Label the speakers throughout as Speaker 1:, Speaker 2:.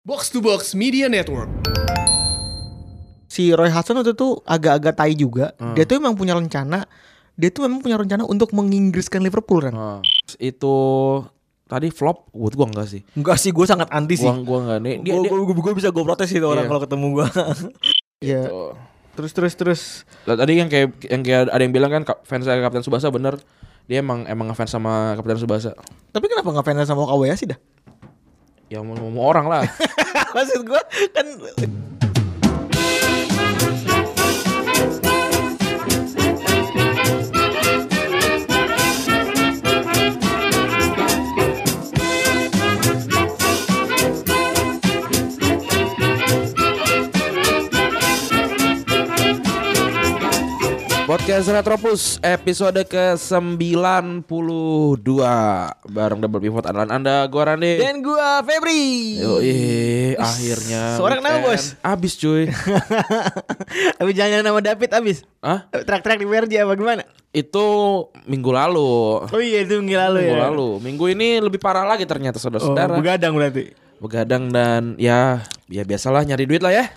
Speaker 1: Box to Box Media Network.
Speaker 2: si Roy Hudson waktu itu agak-agak tai juga. Dia tuh memang punya rencana. Dia tuh memang punya rencana untuk menginggriskan Liverpool kan.
Speaker 3: Nah, itu tadi flop buat gua enggak sih.
Speaker 4: Enggak sih, gue sangat anti sih.
Speaker 3: Gua gua enggak nih. Dia, dia,
Speaker 4: Gue bisa gue protes itu orang
Speaker 3: Iya.
Speaker 4: kalau ketemu gue.
Speaker 2: Iya.
Speaker 3: Tuh.
Speaker 2: Terus terus terus.
Speaker 3: Lah, tadi yang kayak yang kayak ada yang bilang kan kap- fans saya Kapten Subasa bener dia emang emang ngefans sama Kapten Subasa.
Speaker 2: Tapi kenapa nggak fans sama Okawa sih dah?
Speaker 3: Ya mau, mau orang lah.
Speaker 2: Maksud gue kan
Speaker 3: Podcast Retropus episode ke-92 bareng Double Pivot andalan Anda gua Rande.
Speaker 4: Dan gue Febri.
Speaker 2: Iya.
Speaker 3: Yoi, akhirnya
Speaker 4: seorang kenapa,
Speaker 3: weekend
Speaker 4: Bos?
Speaker 3: Abis cuy
Speaker 2: Tapi jangan nama David abis.
Speaker 3: Hah?
Speaker 2: Trak-trak di PRJ apa gimana?
Speaker 3: Itu minggu lalu
Speaker 2: Oh iya itu minggu lalu
Speaker 3: Minggu
Speaker 2: ya.
Speaker 3: lalu Minggu ini lebih parah lagi ternyata
Speaker 2: Oh,
Speaker 3: saudara-saudara
Speaker 2: begadang berarti.
Speaker 3: Begadang dan ya ya biasalah nyari duit lah ya.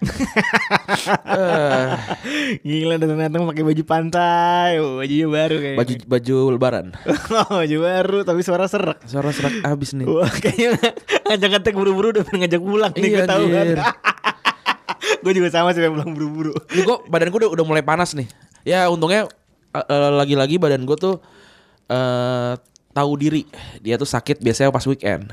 Speaker 3: Eh,
Speaker 2: Gila datang-datang pakai baju pantai, Oh, bajunya baru kayak.
Speaker 3: baju baju lebaran.
Speaker 2: baju baru tapi suara serak.
Speaker 3: Suara serak abis nih.
Speaker 2: Wah kayaknya ngajak ngetek buru-buru udah pengen ngajak pulang nih
Speaker 3: Iya,
Speaker 2: gue tahu kan.
Speaker 3: anjir.
Speaker 2: gue juga sama sih pengen pulang buru-buru.
Speaker 3: Ini gua badan gua udah, udah mulai panas nih. Ya untungnya eh, eh, lagi-lagi badan gua tuh eh tahu diri. Dia tuh sakit biasanya pas weekend.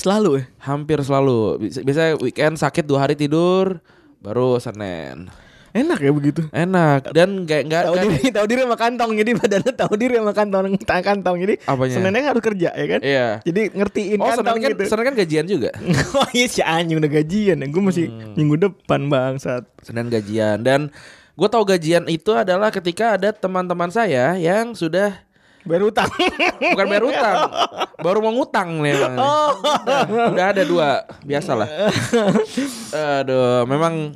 Speaker 2: Selalu ya.
Speaker 3: Hampir selalu. Bisa- Biasanya weekend sakit dua hari tidur baru Senin.
Speaker 2: Enak ya begitu.
Speaker 3: Enak dan kayak nggak kan
Speaker 2: Tahu
Speaker 3: nggak-
Speaker 2: diri, tahu diri sama kantong. Jadi badan lu tahu diri sama kantong, tangan kantong. Jadi
Speaker 3: Apanya?
Speaker 2: Seninnya harus kerja ya kan?
Speaker 3: Iya.
Speaker 2: Jadi ngertiin
Speaker 3: Oh,
Speaker 2: kantong
Speaker 3: Senin kan,
Speaker 2: gitu.
Speaker 3: Senin kan gajian juga.
Speaker 2: oh iya si anjing udah gajian ya. Gue masih minggu depan bangsat.
Speaker 3: Senin gajian dan gue tahu gajian itu adalah ketika ada teman-teman saya yang sudah
Speaker 2: Bayar utang.
Speaker 3: bukan bayar utang, baru mau ngutang nih. Bang.
Speaker 2: Oh.
Speaker 3: Udah, udah ada dua, biasalah. Aduh, memang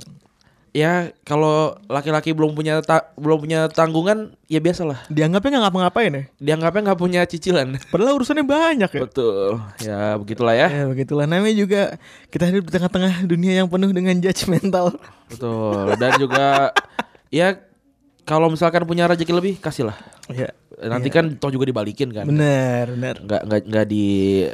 Speaker 3: ya kalau laki-laki belum punya ta- belum punya tanggungan ya biasalah.
Speaker 2: Dianggapnya nggak ngapa-ngapain ya.
Speaker 3: Dianggapnya nggak punya cicilan.
Speaker 2: Padahal urusannya banyak ya.
Speaker 3: Betul. Ya begitulah ya.
Speaker 2: Ya begitulah namanya juga kita hidup di tengah-tengah dunia yang penuh dengan judgmental.
Speaker 3: Betul. Dan juga ya kalau misalkan punya rezeki lebih kasihlah.
Speaker 2: Ya,
Speaker 3: Nanti kan toh juga dibalikin kan.
Speaker 2: benar, benar.
Speaker 3: nggak nggak nggak di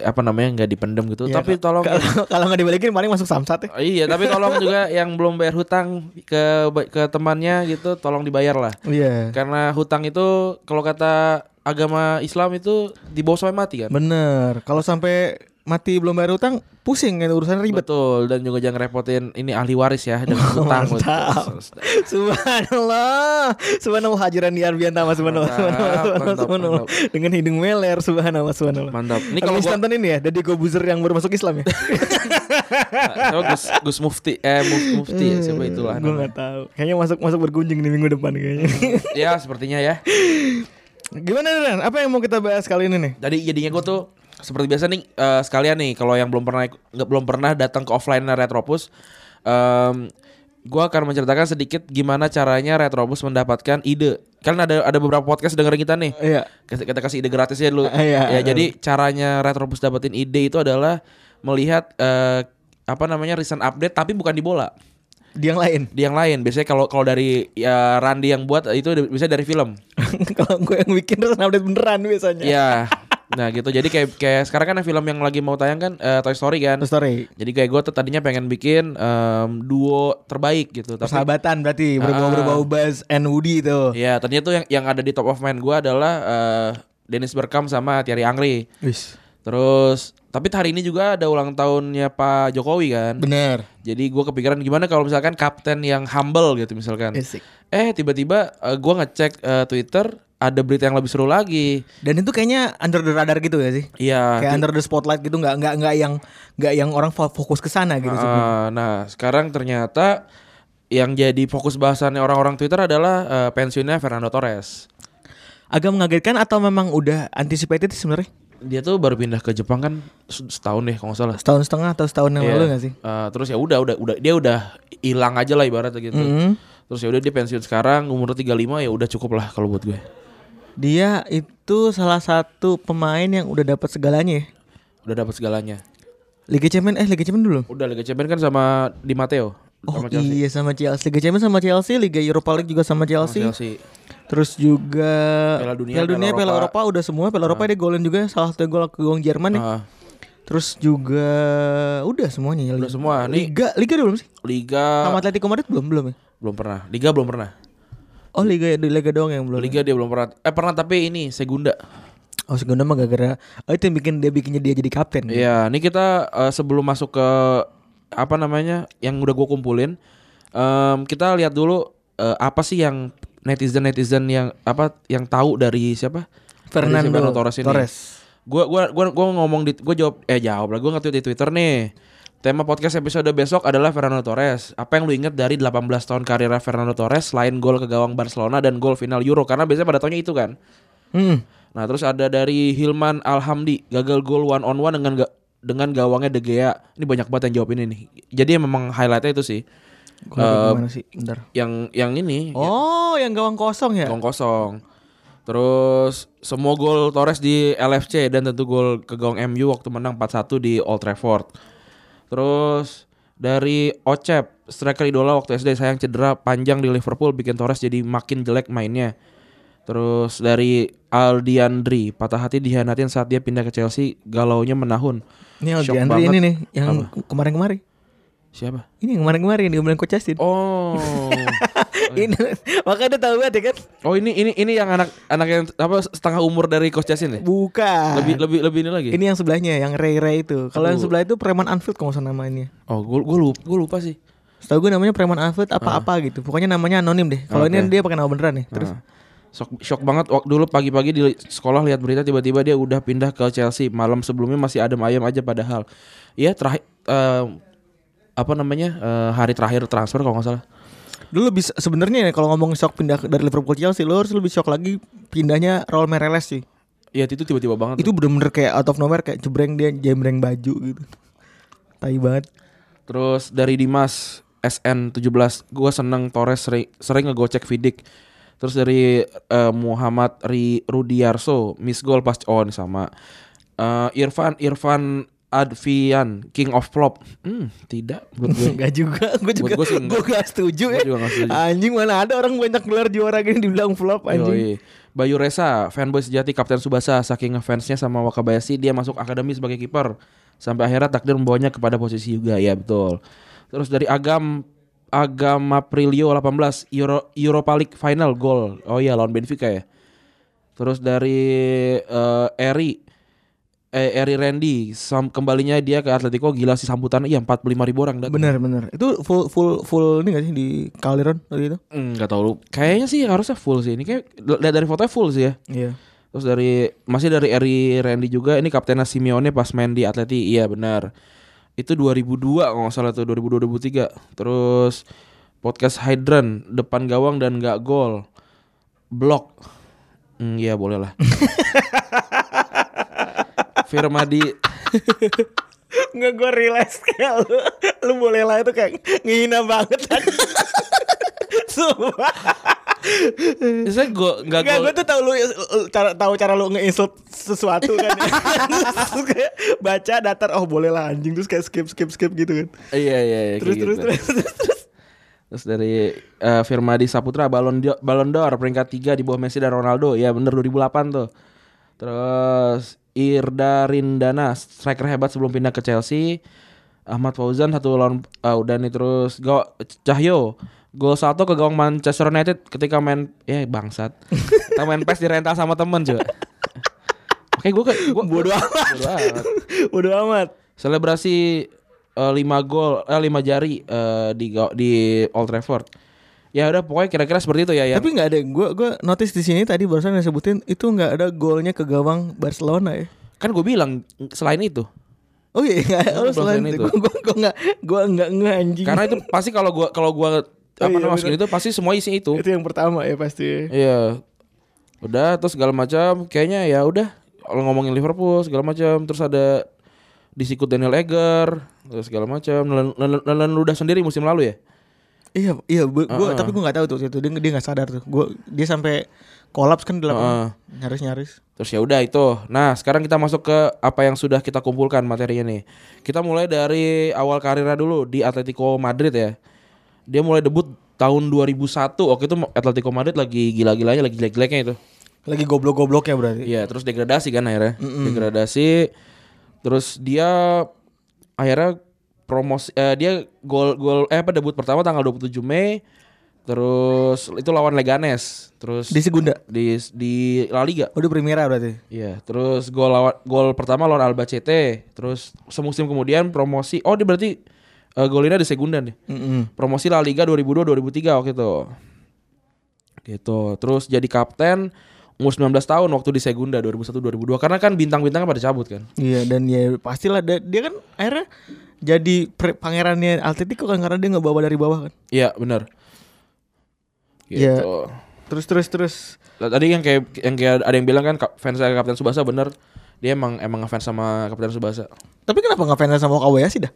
Speaker 3: apa namanya nggak dipendem gitu
Speaker 2: Ya,
Speaker 3: tapi
Speaker 2: ka-
Speaker 3: tolong
Speaker 2: kalau kalau nggak dibalikin paling masuk samsat ya.
Speaker 3: Oh, iya tapi tolong juga yang belum bayar hutang ke ke temannya gitu tolong dibayar lah
Speaker 2: Iya.
Speaker 3: karena hutang itu kalau kata agama Islam itu dibawa sampai mati kan
Speaker 2: Bener. Kalau sampai mati belum bayar utang, pusing kan urusan ribet.
Speaker 3: betul dan juga jangan repotin ini ahli waris ya dengan hutang
Speaker 2: Mantap. Subhanallah. Subhanallah hajiran di Arbian Tama subhanallah.
Speaker 3: Mantap,
Speaker 2: Subhanallah. Subhanallah.
Speaker 3: mantap,
Speaker 2: subhanallah. Dengan hidung meler subhanallah subhanallah.
Speaker 3: Mantap.
Speaker 2: Ini
Speaker 3: Ini kalau
Speaker 2: kalau
Speaker 3: gua-
Speaker 2: tonton ini ya, Deddy Kobuzer yang baru masuk Islam ya.
Speaker 3: Siapa Gus Gus Mufti eh Mufti, Mufti ya siapa itulah
Speaker 2: Gue
Speaker 3: namanya.
Speaker 2: nggak tahu. Kayaknya masuk masuk berkunjung di minggu depan kayaknya.
Speaker 3: ya sepertinya ya
Speaker 2: Gimana Ran? Apa yang mau kita bahas kali ini nih?
Speaker 3: Jadi jadinya gue tuh seperti biasa nih eh, sekalian nih kalau yang belum pernah nggak belum pernah datang ke offline Retropus, em gue akan menceritakan sedikit gimana caranya Retropus mendapatkan ide. Kan ada ada beberapa podcast dengerin kita nih.
Speaker 2: Iya.
Speaker 3: Kita, kita kasih ide gratis ya dulu.
Speaker 2: Ah, iya.
Speaker 3: ya jadi caranya Retropus dapetin ide itu adalah melihat eh, apa namanya recent update tapi bukan di bola
Speaker 2: Di yang lain.
Speaker 3: di yang lain biasanya kalau kalau dari ya, Randy yang buat itu bisa dari film
Speaker 2: kalau gue yang bikin terus update beneran biasanya.
Speaker 3: Iya. Nah gitu. Jadi kayak kayak sekarang kan film yang lagi mau tayang kan eh, Toy Story kan.
Speaker 2: Terus story.
Speaker 3: Jadi kayak gue tuh tadinya pengen bikin em, duo terbaik gitu. Tapi
Speaker 2: Persahabatan berarti berbau berbau Buzz and Woody itu.
Speaker 3: ya ternyata tuh yang yang ada di top of mind gue adalah eh, Dennis Bergkamp sama Thierry Angri.
Speaker 2: Wis.
Speaker 3: Terus tapi hari ini juga ada ulang tahunnya Pak Jokowi kan.
Speaker 2: Bener.
Speaker 3: Jadi gue kepikiran gimana kalau misalkan kapten yang humble gitu misalkan.
Speaker 2: Asik.
Speaker 3: Eh tiba-tiba eh, gua gue ngecek eh, Twitter ada berita yang lebih seru lagi.
Speaker 2: Dan itu kayaknya under the radar gitu ya sih.
Speaker 3: Iya.
Speaker 2: Kayak under the spotlight gitu nggak nggak nggak yang nggak yang orang fo- fokus ke sana gitu. sih.
Speaker 3: Ah, nah, sekarang ternyata yang jadi fokus bahasannya orang-orang Twitter adalah eh, pensiunnya Fernando Torres.
Speaker 2: Agak mengagetkan atau memang udah anticipated sih sebenarnya?
Speaker 3: Dia tuh baru pindah ke Jepang kan se- setahun deh kalau nggak salah.
Speaker 2: Setahun setengah atau setahun yang
Speaker 3: Iya.
Speaker 2: lalu nggak sih?
Speaker 3: Eh, terus ya udah udah udah dia udah hilang aja lah ibaratnya gitu.
Speaker 2: Mm-hmm.
Speaker 3: Terus ya udah dia pensiun sekarang umur 35 ya udah cukup lah kalau buat gue.
Speaker 2: Dia itu salah satu pemain yang udah dapat segalanya. ya.
Speaker 3: Udah dapat segalanya.
Speaker 2: Liga Champions eh Liga Champions dulu.
Speaker 3: Udah Liga Champions kan sama Di Matteo.
Speaker 2: Oh
Speaker 3: sama Chelsea.
Speaker 2: iya sama Chelsea. Liga Champions sama Chelsea, Liga Europa League juga sama Chelsea.
Speaker 3: Chelsea.
Speaker 2: Terus juga
Speaker 3: Piala Dunia,
Speaker 2: Piala, Dunia,
Speaker 3: Piala
Speaker 2: Piala
Speaker 3: Eropa. Nah.
Speaker 2: Eropa. udah semua. Piala Eropa dia golin juga salah satu gol ke gol Jerman ya.
Speaker 3: Ah,
Speaker 2: Terus juga udah semuanya.
Speaker 3: Udah semua, Eh, nih.
Speaker 2: Liga Liga udah belum sih?
Speaker 3: Liga
Speaker 2: Sama Atletico Madrid belum belum ya?
Speaker 3: belum pernah. Liga belum pernah.
Speaker 2: Oh Liga Liga doang yang belum. ya?
Speaker 3: Liga dia belum pernah. Eh pernah tapi ini Segunda.
Speaker 2: Oh Segunda mah gara-gara oh, itu yang bikin dia bikinnya dia jadi kapten.
Speaker 3: Iya, ini kita eh, sebelum masuk ke apa namanya yang udah gue kumpulin, em, kita lihat dulu eh, apa sih yang netizen netizen yang apa yang tahu dari siapa?
Speaker 2: Fernando
Speaker 3: Dari si Torres ini.
Speaker 2: Torres.
Speaker 3: Gue gua gua gua ngomong di gue jawab eh jawab lah gue nge-tweet di Twitter nih. Tema podcast episode besok adalah Fernando Torres. Apa yang lu inget dari 18 tahun karir Fernando Torres selain gol ke gawang Barcelona dan gol final Euro? Karena biasanya pada tahunnya itu kan.
Speaker 2: Hmm.
Speaker 3: Nah terus ada dari Hilman Alhamdi gagal gol one on one dengan ga- dengan gawangnya De Gea. Ini banyak banget yang jawab ini nih. Jadi memang highlightnya itu sih Eh,
Speaker 2: Gua lupa gimana sih? Bentar.
Speaker 3: yang yang ini
Speaker 2: Oh, yang gawang kosong ya?
Speaker 3: iya. gawang kosong. Terus semua gol Torres di LFC dan tentu gol ke gawang MU waktu menang 4-1 di Old Trafford. Terus dari Ocep, striker idola waktu SD sayang cedera panjang di Liverpool bikin Torres jadi makin jelek mainnya. Terus dari Aldiandri, patah hati dihianatin saat dia pindah ke Chelsea, galaunya menahun.
Speaker 2: Ini
Speaker 3: Shock
Speaker 2: Aldi Andri
Speaker 3: banget.
Speaker 2: ini nih yang kemarin-kemarin.
Speaker 3: Siapa?
Speaker 2: Ini yang kemarin-kemarin yang bilang Coach Justin.
Speaker 3: Oh. iya.
Speaker 2: ini makanya dia tahu banget ya kan?
Speaker 3: oh ini ini ini yang anak anak yang apa setengah umur dari Coach Jasin ya?
Speaker 2: Bukan.
Speaker 3: Lebih lebih lebih ini lagi.
Speaker 2: Ini yang sebelahnya, yang Ray Ray itu. Kalau yang
Speaker 3: Aduh.
Speaker 2: sebelah itu preman Anfield kalau nggak salah namanya.
Speaker 3: Oh, gue gue lupa, gua lupa sih.
Speaker 2: Setahu gue namanya preman Anfield apa-apa gitu. Pokoknya namanya anonim deh. Kalau ini
Speaker 3: Ah. Oke. Ah.
Speaker 2: dia pakai nama beneran nih. Terus
Speaker 3: Terus shock, shock banget waktu dulu pagi-pagi di sekolah lihat berita tiba-tiba dia udah pindah ke Chelsea. Malam sebelumnya masih adem ayam aja padahal. Iya, terakhir eh, apa namanya? eh, hari terakhir transfer kalau nggak salah.
Speaker 2: dulu bisa sebenarnya ya kalau ngomong shock pindah ke- dari Liverpool ke Chelsea, lo harus lebih shock lagi pindahnya Raul Meireles sih.
Speaker 3: Iya, itu tiba-tiba banget.
Speaker 2: Itu bener-bener kayak out of nowhere kayak jebreng dia jembreng baju gitu. Tai banget.
Speaker 3: Terus dari Dimas SN17, gua seneng Torres seri- sering, ngegocek Vidic. Terus dari eh, Muhammad Ri Rudiarso, miss goal pas on sama Eh, Irfan Irfan Advian, King of Flop. Hmm, tidak menurut gue.
Speaker 2: Enggak juga, gue juga
Speaker 3: Iya. gua sih
Speaker 2: gue
Speaker 3: enggak.
Speaker 2: gak setuju
Speaker 3: Gua
Speaker 2: ya.
Speaker 3: juga nggak setuju.
Speaker 2: Anjing mana ada orang banyak gelar juara gini dibilang flop anjing.
Speaker 3: Yoi. Bayu Resa, fanboy sejati Kapten Subasa, saking ngefansnya sama Wakabayashi, dia masuk akademi sebagai kiper. Sampai akhirnya takdir membawanya kepada posisi juga, ya betul. Terus dari Agam Agam Aprilio 18 Euro, Europa League final gol. Oh iya lawan Benfica ya. Terus dari eh, Eri eh, Eri Randy sam, kembalinya dia ke Atletico gila sih sambutannya iya 45 ribu orang datang.
Speaker 2: Bener bener. Itu full full full ini gak sih di Calderon tadi itu?
Speaker 3: Enggak tahu lu. Kayaknya sih harusnya full sih. Ini kayak lihat dari fotonya full sih ya.
Speaker 2: Iya.
Speaker 3: Terus dari masih dari Eri Randy juga ini kaptennya Simeone pas main di Atleti. Iya benar. Itu 2002 kalau nggak salah tuh 2002 2003. Terus podcast Hydran depan gawang dan nggak gol. Blok. Hmm, iya boleh lah. Firmadi
Speaker 2: Nggak gue realize kayak lu, lu boleh lah itu kayak ngehina banget anjing. Sumpah
Speaker 3: saya go nggak
Speaker 2: Nggak,
Speaker 3: gol.
Speaker 2: gue tuh tau lu lu cara, tahu cara lu nge-insult sesuatu kan Terus kayak baca datar Oh boleh lah anjing Terus kayak skip skip skip gitu kan
Speaker 3: Iya iya iya, kayak
Speaker 2: Terus
Speaker 3: gitu.
Speaker 2: terus terus terus terus.
Speaker 3: Terus dari eh, Firmadi Saputra Balon Dio- Ballon d'Or peringkat 3 di bawah Messi dan Ronaldo. Ya bener 2008 tuh. Terus Irda Rindana striker hebat sebelum pindah ke Chelsea. Ahmad Fauzan satu lawan ah, udah nih terus Go, Cahyo gol satu ke gawang Manchester United ketika main ya bangsat. Kita main PES dirental sama temen juga. Oke gue gua bodo amat. Bodo amat.
Speaker 2: Bodo amat
Speaker 3: Selebrasi 5 gol, eh 5 jari eh, di ga- di Old Trafford. Ya udah pokoknya kira-kira seperti itu ya yang
Speaker 2: Tapi nggak ada gue gue notice di sini tadi barusan yang sebutin itu nggak ada golnya ke gawang Barcelona ya.
Speaker 3: kan gue bilang selain itu.
Speaker 2: Oh iya, nggak ada.
Speaker 3: Belum
Speaker 2: oh, selain
Speaker 3: selain
Speaker 2: itu
Speaker 3: itu.
Speaker 2: gue gue nggak gue nggak nggak anjing.
Speaker 3: Karena itu pasti kalau gua kalau gua apa namanya masukin itu pasti semua isi itu.
Speaker 2: itu yang pertama ya pasti.
Speaker 3: Iya. Udah terus segala macam kayaknya ya udah kalau ngomongin Liverpool segala macam terus ada disikut Daniel Eger terus segala macam Nelan- Nelan nelan ludah sendiri musim lalu ya.
Speaker 2: Iya, iya, gua, gua- tapi gue nggak tahu tuh itu dia dia nggak sadar tuh. Gua dia sampai kolaps kan di lapangan. Nyaris-nyaris.
Speaker 3: Terus ya udah itu. Nah, sekarang kita masuk ke apa yang sudah kita kumpulkan materinya nih. Kita mulai dari awal karirnya dulu di Atletico Madrid ya. Dia mulai debut tahun 2001. Waktu itu Atletico Madrid lagi gila-gilanya, lagi jelek-jeleknya itu.
Speaker 2: Lagi goblok-goblok ya berarti.
Speaker 3: Iya, terus degradasi kan akhirnya. Degradasi. Terus dia akhirnya promosi eh, dia gol gol eh apa debut pertama tanggal 27 Mei. Terus itu lawan Leganes. Terus
Speaker 2: Di Segunda.
Speaker 3: di di La Liga.
Speaker 2: Udah Oh, Primera berarti.
Speaker 3: Iya, terus gol lawan gol pertama lawan Albacete, terus semusim kemudian promosi. Oh, dia berarti eh, golnya di Segunda nih.
Speaker 2: Mm-mm.
Speaker 3: Promosi La Liga 2002-2003 waktu itu. Gitu. Terus jadi kapten umur 19 tahun waktu di Segunda 2001-2002 karena kan bintang-bintangnya pada cabut kan.
Speaker 2: Iya dan ya pastilah da- dia kan akhirnya jadi pre- pangerannya Atletico kan karena dia ngebawa dari bawah kan.
Speaker 3: Iya, benar. Gitu.
Speaker 2: Iya. Terus terus terus.
Speaker 3: Lah, Tadi yang kayak yang kayak ada yang bilang kan kap- fans saya Kapten Subasa bener dia emang emang ngefans sama Kapten Subasa.
Speaker 2: Tapi kenapa nggak fans sama Kobayashi dah?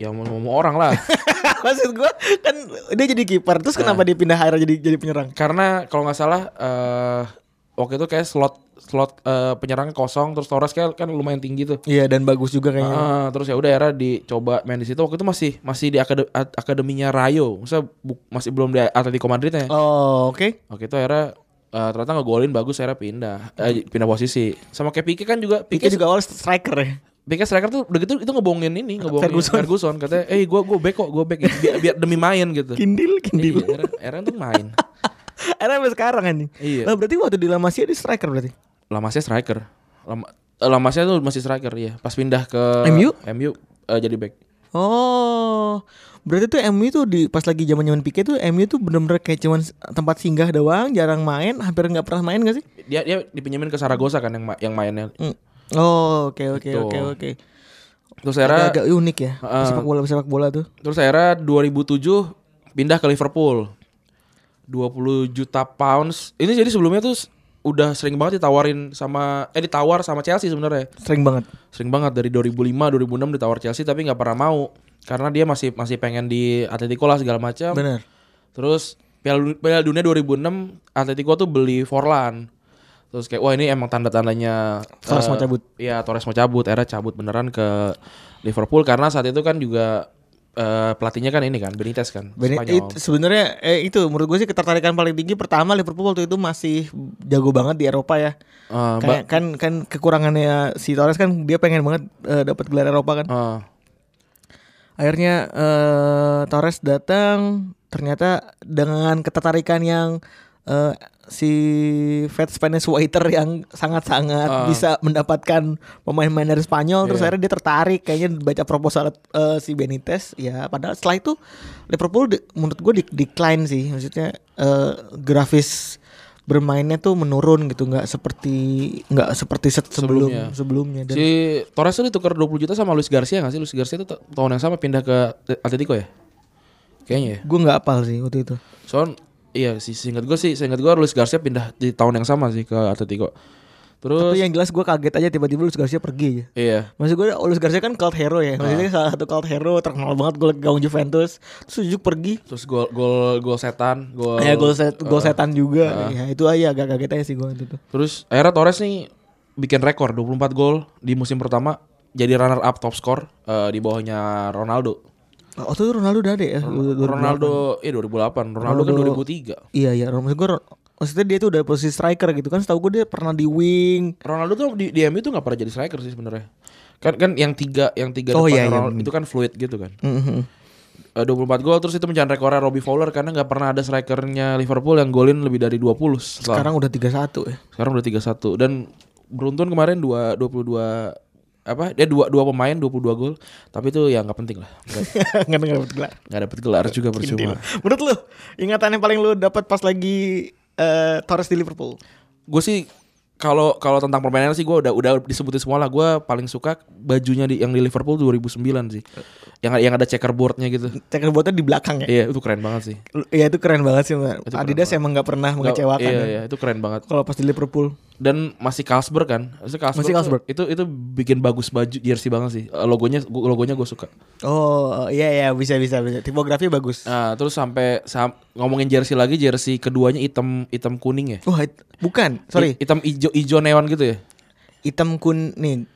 Speaker 3: Ya mau, mau orang lah.
Speaker 2: Maksud gue kan dia jadi kiper terus kenapa dia pindah akhirnya jadi jadi penyerang?
Speaker 3: karena kalau nggak salah eh waktu itu kayak slot slot eh, penyerang kosong terus Torres kayak kan lumayan tinggi tuh.
Speaker 2: Iya dan bagus juga kayaknya.
Speaker 3: Ah, terus ya udah era dicoba main di situ waktu itu masih masih di akade- a- akademinya Rayo. Maksudnya bu- masih belum di Atletico Madrid ya.
Speaker 2: Oh oke.
Speaker 3: Waktu itu era ternyata ngegolin bagus era pindah eh, pindah posisi. Sama kayak Pique kan juga
Speaker 2: Hmm. Pique
Speaker 3: Pique
Speaker 2: juga awal striker ya.
Speaker 3: Pique striker tuh udah gitu itu ngebohongin ini, ngebohongin
Speaker 2: Ferguson.
Speaker 3: Ferguson, katanya, "Eh, gua gua back kok, gua back." Gitu. Biar, biar demi main gitu.
Speaker 2: Kindil kindil.
Speaker 3: Iya, era, era tuh main.
Speaker 2: Akhirnya sampai sekarang anjing.
Speaker 3: Iya.
Speaker 2: Lah berarti waktu di La Masia dia striker berarti.
Speaker 3: Lamasnya striker. Lama, eh, Lamasnya tuh masih striker ya. Pas pindah ke
Speaker 2: MU?
Speaker 3: MU eh, jadi back.
Speaker 2: Oh. Berarti tuh MU tuh di pas lagi zaman zaman Pique tuh MU tuh bener-bener kayak cuman s- tempat singgah doang, jarang main, hampir nggak pernah main gak sih?
Speaker 3: Dia dia dipinjemin ke Saragossa kan yang ma- yang mainnya.
Speaker 2: Mm. Oh, oke oke
Speaker 3: Gitu.
Speaker 2: oke oke.
Speaker 3: Terus era
Speaker 2: Agak unik ya
Speaker 3: Heeh.
Speaker 2: sepak bola sepak bola tuh.
Speaker 3: terus era 2007 pindah ke Liverpool. 20 juta pounds. Ini jadi sebelumnya tuh s- udah sering banget ditawarin sama eh ditawar sama Chelsea sebenarnya.
Speaker 2: Sering banget.
Speaker 3: Sering banget dari 2005 2006 ditawar Chelsea tapi nggak pernah mau karena dia masih masih pengen di Atletico lah segala macam.
Speaker 2: Bener.
Speaker 3: Terus Piala, Piala Dunia 2006 Atletico tuh beli Forlan. Terus kayak wah ini emang tanda-tandanya
Speaker 2: Torres
Speaker 3: eh,
Speaker 2: mau cabut.
Speaker 3: Iya, Torres mau cabut, era cabut beneran ke Liverpool karena saat itu kan juga eh, pelatihnya kan ini kan Benitez kan
Speaker 2: Bene-
Speaker 3: Spanyol.
Speaker 2: it- sebenarnya eh, itu menurut gue sih ketertarikan paling tinggi pertama Liverpool waktu itu masih jago banget di Eropa ya.
Speaker 3: Eh,
Speaker 2: Kayak
Speaker 3: ba-
Speaker 2: kan kan kekurangannya si Torres kan dia pengen banget eh, dapat gelar Eropa kan.
Speaker 3: eh,
Speaker 2: Akhirnya eh, Torres datang ternyata dengan ketertarikan yang eh, si Fred Spanish Waiter yang sangat-sangat bisa mendapatkan pemain-pemain dari Spanyol terus akhirnya dia tertarik kayaknya baca proposal eh, si Benitez ya padahal setelah itu Liverpool di- menurut gue di- decline sih maksudnya eh, grafis bermainnya tuh menurun gitu nggak seperti nggak seperti set sebelum sebelumnya, Dan-
Speaker 3: si Torres tuh ditukar 20 juta sama Luis Garcia nggak sih? Luis Garcia itu ta- tahun yang sama pindah ke Atletico ya? Kayaknya ya.
Speaker 2: gue nggak apal sih waktu itu
Speaker 3: Soalnya iya sih seingat gue sih, seingat gue Luis Garcia pindah di tahun yang sama sih ke Atletico. Terus
Speaker 2: Tapi ya- yang jelas gue kaget aja tiba-tiba Luis Garcia pergi aja.
Speaker 3: iya.
Speaker 2: Maksud gue Luis Garcia kan cult hero ya. Maksudnya salah satu cult hero terkenal banget gue gaung Juventus. Terus Jujuk pergi.
Speaker 3: Terus gol gol gol setan, gol.
Speaker 2: Ya gol set, gol setan juga. Ya itu aja agak kaget aja sih gue itu tuh.
Speaker 3: Terus akhirnya Torres nih bikin rekor 24 gol di musim pertama jadi runner up top skor eh, di bawahnya Ronaldo.
Speaker 2: Waktu itu Ronaldo udah ada ya.
Speaker 3: Ronaldo eh 2008, Ronaldo, kan 2003.
Speaker 2: Iya iya. Maksud gue maksudnya dia tuh udah posisi striker gitu kan. Setahu gue dia pernah di wing.
Speaker 3: Ronaldo tuh di, di MU tuh nggak pernah jadi striker sih sebenarnya. Kan kan yang tiga yang tiga
Speaker 2: Oh,
Speaker 3: depan
Speaker 2: iya, iya,
Speaker 3: Ronaldo
Speaker 2: bener.
Speaker 3: itu kan fluid gitu kan.
Speaker 2: Mhm.
Speaker 3: Eh, 24 gol terus itu mencapai rekornya Robbie Fowler karena nggak pernah ada strikernya Liverpool yang golin lebih dari 20 setelah
Speaker 2: Sekarang udah 3-1 ya.
Speaker 3: Sekarang udah 31 dan beruntun kemarin dua 22 apa dia dua dua pemain 22 gol tapi itu ya nggak penting lah nggak
Speaker 2: Nggak dengar gelar.
Speaker 3: nggak dapet gelar juga percuma
Speaker 2: Menurut lu ingatan yang paling lu dapat pas lagi eh, Torres di Liverpool?
Speaker 3: gue sih kalau kalau tentang permainan sih gue udah udah disebutin semua lah gue paling suka bajunya di, yang di Liverpool 2009 sih yang yang ada checkerboardnya gitu
Speaker 2: Checkerboardnya di belakang ya.
Speaker 3: iya itu keren banget sih
Speaker 2: Iya, Lu- Ya itu keren banget sih. Mbak. Adidas emang nggak pernah
Speaker 3: Nggak-
Speaker 2: mengecewakan.
Speaker 3: iya
Speaker 2: kan.
Speaker 3: iya itu keren banget
Speaker 2: Kalau pas di Liverpool.
Speaker 3: dan masih Carlsberg kan? Masih Carlsberg.
Speaker 2: Masih
Speaker 3: tuh-
Speaker 2: Carlsberg.
Speaker 3: Itu itu bikin bagus baju jersey banget sih. Eh, Logonya gua- logonya gue suka.
Speaker 2: Oh iya iya bisa bisa bisa. Tipografi bagus.
Speaker 3: Nah, terus sampai sam- ngomongin jersey lagi, jersey keduanya hitam hitam kuning ya.
Speaker 2: Wah it- bukan sorry
Speaker 3: Hi- Hitam ijo ijo neon gitu ya.
Speaker 2: hitam kuning I-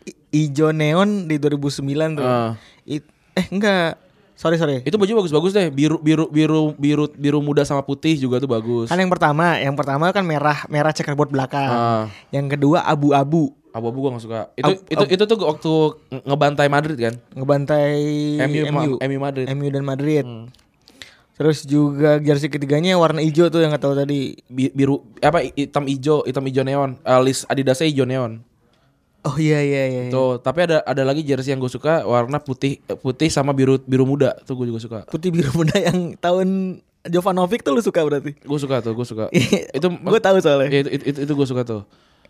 Speaker 2: ijo neon di 2009 tuh.
Speaker 3: Ah.
Speaker 2: It- eh enggak sorry sorry.
Speaker 3: Itu baju bagus-bagus deh, biru biru biru biru biru muda sama putih juga tuh bagus.
Speaker 2: Kan yang pertama yang pertama kan merah merah checkerboard belakang.
Speaker 3: Ah.
Speaker 2: Yang kedua abu-abu
Speaker 3: Abu-abu gue gak suka. Itu
Speaker 2: Ab-
Speaker 3: itu itu tuh waktu nge- ngebantai Madrid kan.
Speaker 2: ngebantai
Speaker 3: MU
Speaker 2: MU
Speaker 3: ma- MU Madrid. Hmm.
Speaker 2: MU dan Madrid. Terus juga jersey ketiganya yang warna hijau tuh yang nggak tahu tadi.
Speaker 3: Bi- biru apa hitam ijo, hitam ijo neon. Eh, list Adidasnya ijo neon.
Speaker 2: Oh iya iya iya. iya.
Speaker 3: Tuh, tapi ada ada lagi jersey yang gue suka warna putih eh, putih sama biru biru muda. Tuh gue juga suka.
Speaker 2: Putih biru muda yang tahun Jovanovic tuh lu suka berarti.
Speaker 3: Gue suka tuh, gue suka. itu
Speaker 2: itu gue tahu eh. soalnya.
Speaker 3: Ya, itu itu, itu, itu gue suka tuh.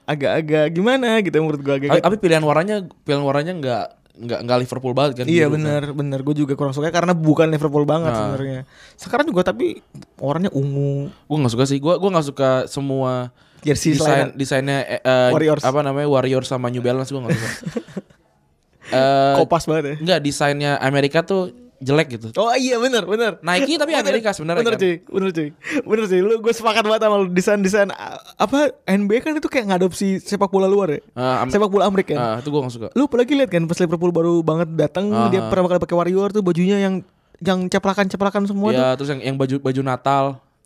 Speaker 2: Agak-agag gimana gitu menurut gue agak.
Speaker 3: Tapi tapi pilihan warnanya pilihan warnanya nggak nggak nggak Liverpool banget kan?
Speaker 2: Iya
Speaker 3: biru kan.
Speaker 2: benar benar gue juga kurang suka karena bukan Liverpool banget
Speaker 3: Nah.
Speaker 2: sebenarnya. Sekarang juga tapi orangnya ungu.
Speaker 3: Gue nggak suka sih. Gue gue nggak suka semua
Speaker 2: Jersey selain
Speaker 3: desain desainnya eh, eh,
Speaker 2: Warriors.
Speaker 3: apa namanya Warriors sama New Balance gue nggak suka. Eh,
Speaker 2: kopas banget ya.
Speaker 3: Nggak desainnya Amerika tuh jelek gitu.
Speaker 2: Oh iya benar benar.
Speaker 3: Nike tapi
Speaker 2: Bener,
Speaker 3: Amerika sebenarnya
Speaker 2: Bener
Speaker 3: kan?
Speaker 2: cuy, bener cuy, bener cuy. Lu gue sepakat banget sama lu desain desain a- apa NBA kan itu kayak ngadopsi sepak bola luar ya.
Speaker 3: Eh, Am-
Speaker 2: sepak bola Amerika. Kan?
Speaker 3: Ah, itu gue nggak suka.
Speaker 2: Lu apalagi lihat kan pas Liverpool baru banget datang
Speaker 3: Ah.
Speaker 2: dia pertama kali pakai Warrior tuh bajunya yang yang ceplakan-ceplakan semua tuh.
Speaker 3: Iya, terus yang yang baju baju Natal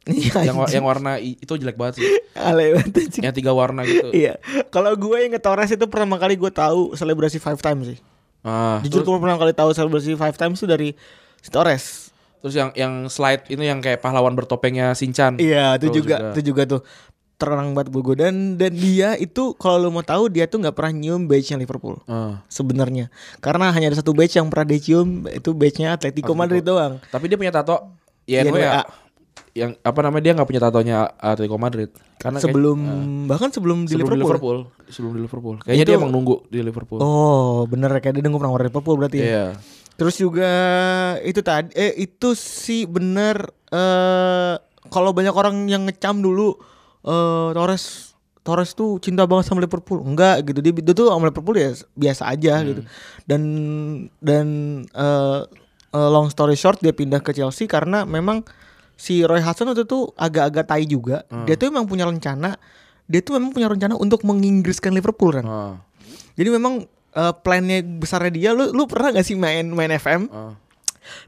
Speaker 2: Iya,
Speaker 3: yang wa-
Speaker 2: anjing.
Speaker 3: yang warna i- itu jelek banget sih.
Speaker 2: Alay banget anjing.
Speaker 3: Yang tiga warna gitu.
Speaker 2: Iya. Kalau gue yang ke Torres itu pertama kali gue tahu selebrasi five times sih.
Speaker 3: Ah,
Speaker 2: Jujur
Speaker 3: terus,
Speaker 2: gue pertama kali tahu selebrasi five times itu dari si Torres.
Speaker 3: terus yang yang slide itu yang kayak pahlawan bertopengnya Sinchan.
Speaker 2: Iya, itu juga, itu juga tuh terang banget buat gue dan dan dia itu kalau lo mau tahu dia tuh nggak pernah nyium badge-nya Liverpool
Speaker 3: Ah.
Speaker 2: sebenarnya karena hanya ada satu badge yang pernah dia cium itu badge-nya Atletico Madrid doang
Speaker 3: Tapi dia punya tato ya
Speaker 2: YNWA.
Speaker 3: ya yang apa namanya dia nggak punya tatonya Atletico Madrid karena kayak- Ah.
Speaker 2: sebelum bahkan sebelum di
Speaker 3: sebelum
Speaker 2: Liverpool.
Speaker 3: sebelum di Liverpool kayaknya dia emang nunggu di Liverpool
Speaker 2: Oh, bener ya, kayak dia nunggu penawar Liverpool berarti. ya.
Speaker 3: iya
Speaker 2: Terus juga itu tadi eh itu sih bener eh kalau banyak orang yang ngecam dulu eh Torres Torres tuh cinta banget sama Liverpool. Enggak gitu. Dia, dia tuh sama Liverpool ya biasa
Speaker 3: Hmm.
Speaker 2: aja gitu. Dan dan eh eh, long story short dia pindah ke Chelsea karena memang si Roy Hudson itu tuh agak-agak tai juga.
Speaker 3: Hmm.
Speaker 2: Dia tuh memang punya rencana dia tuh memang punya rencana untuk menginggriskan Liverpool kan.
Speaker 3: Ah,
Speaker 2: Jadi memang eh, plannya besarnya dia lu lu pernah gak sih main main FM?
Speaker 3: ah.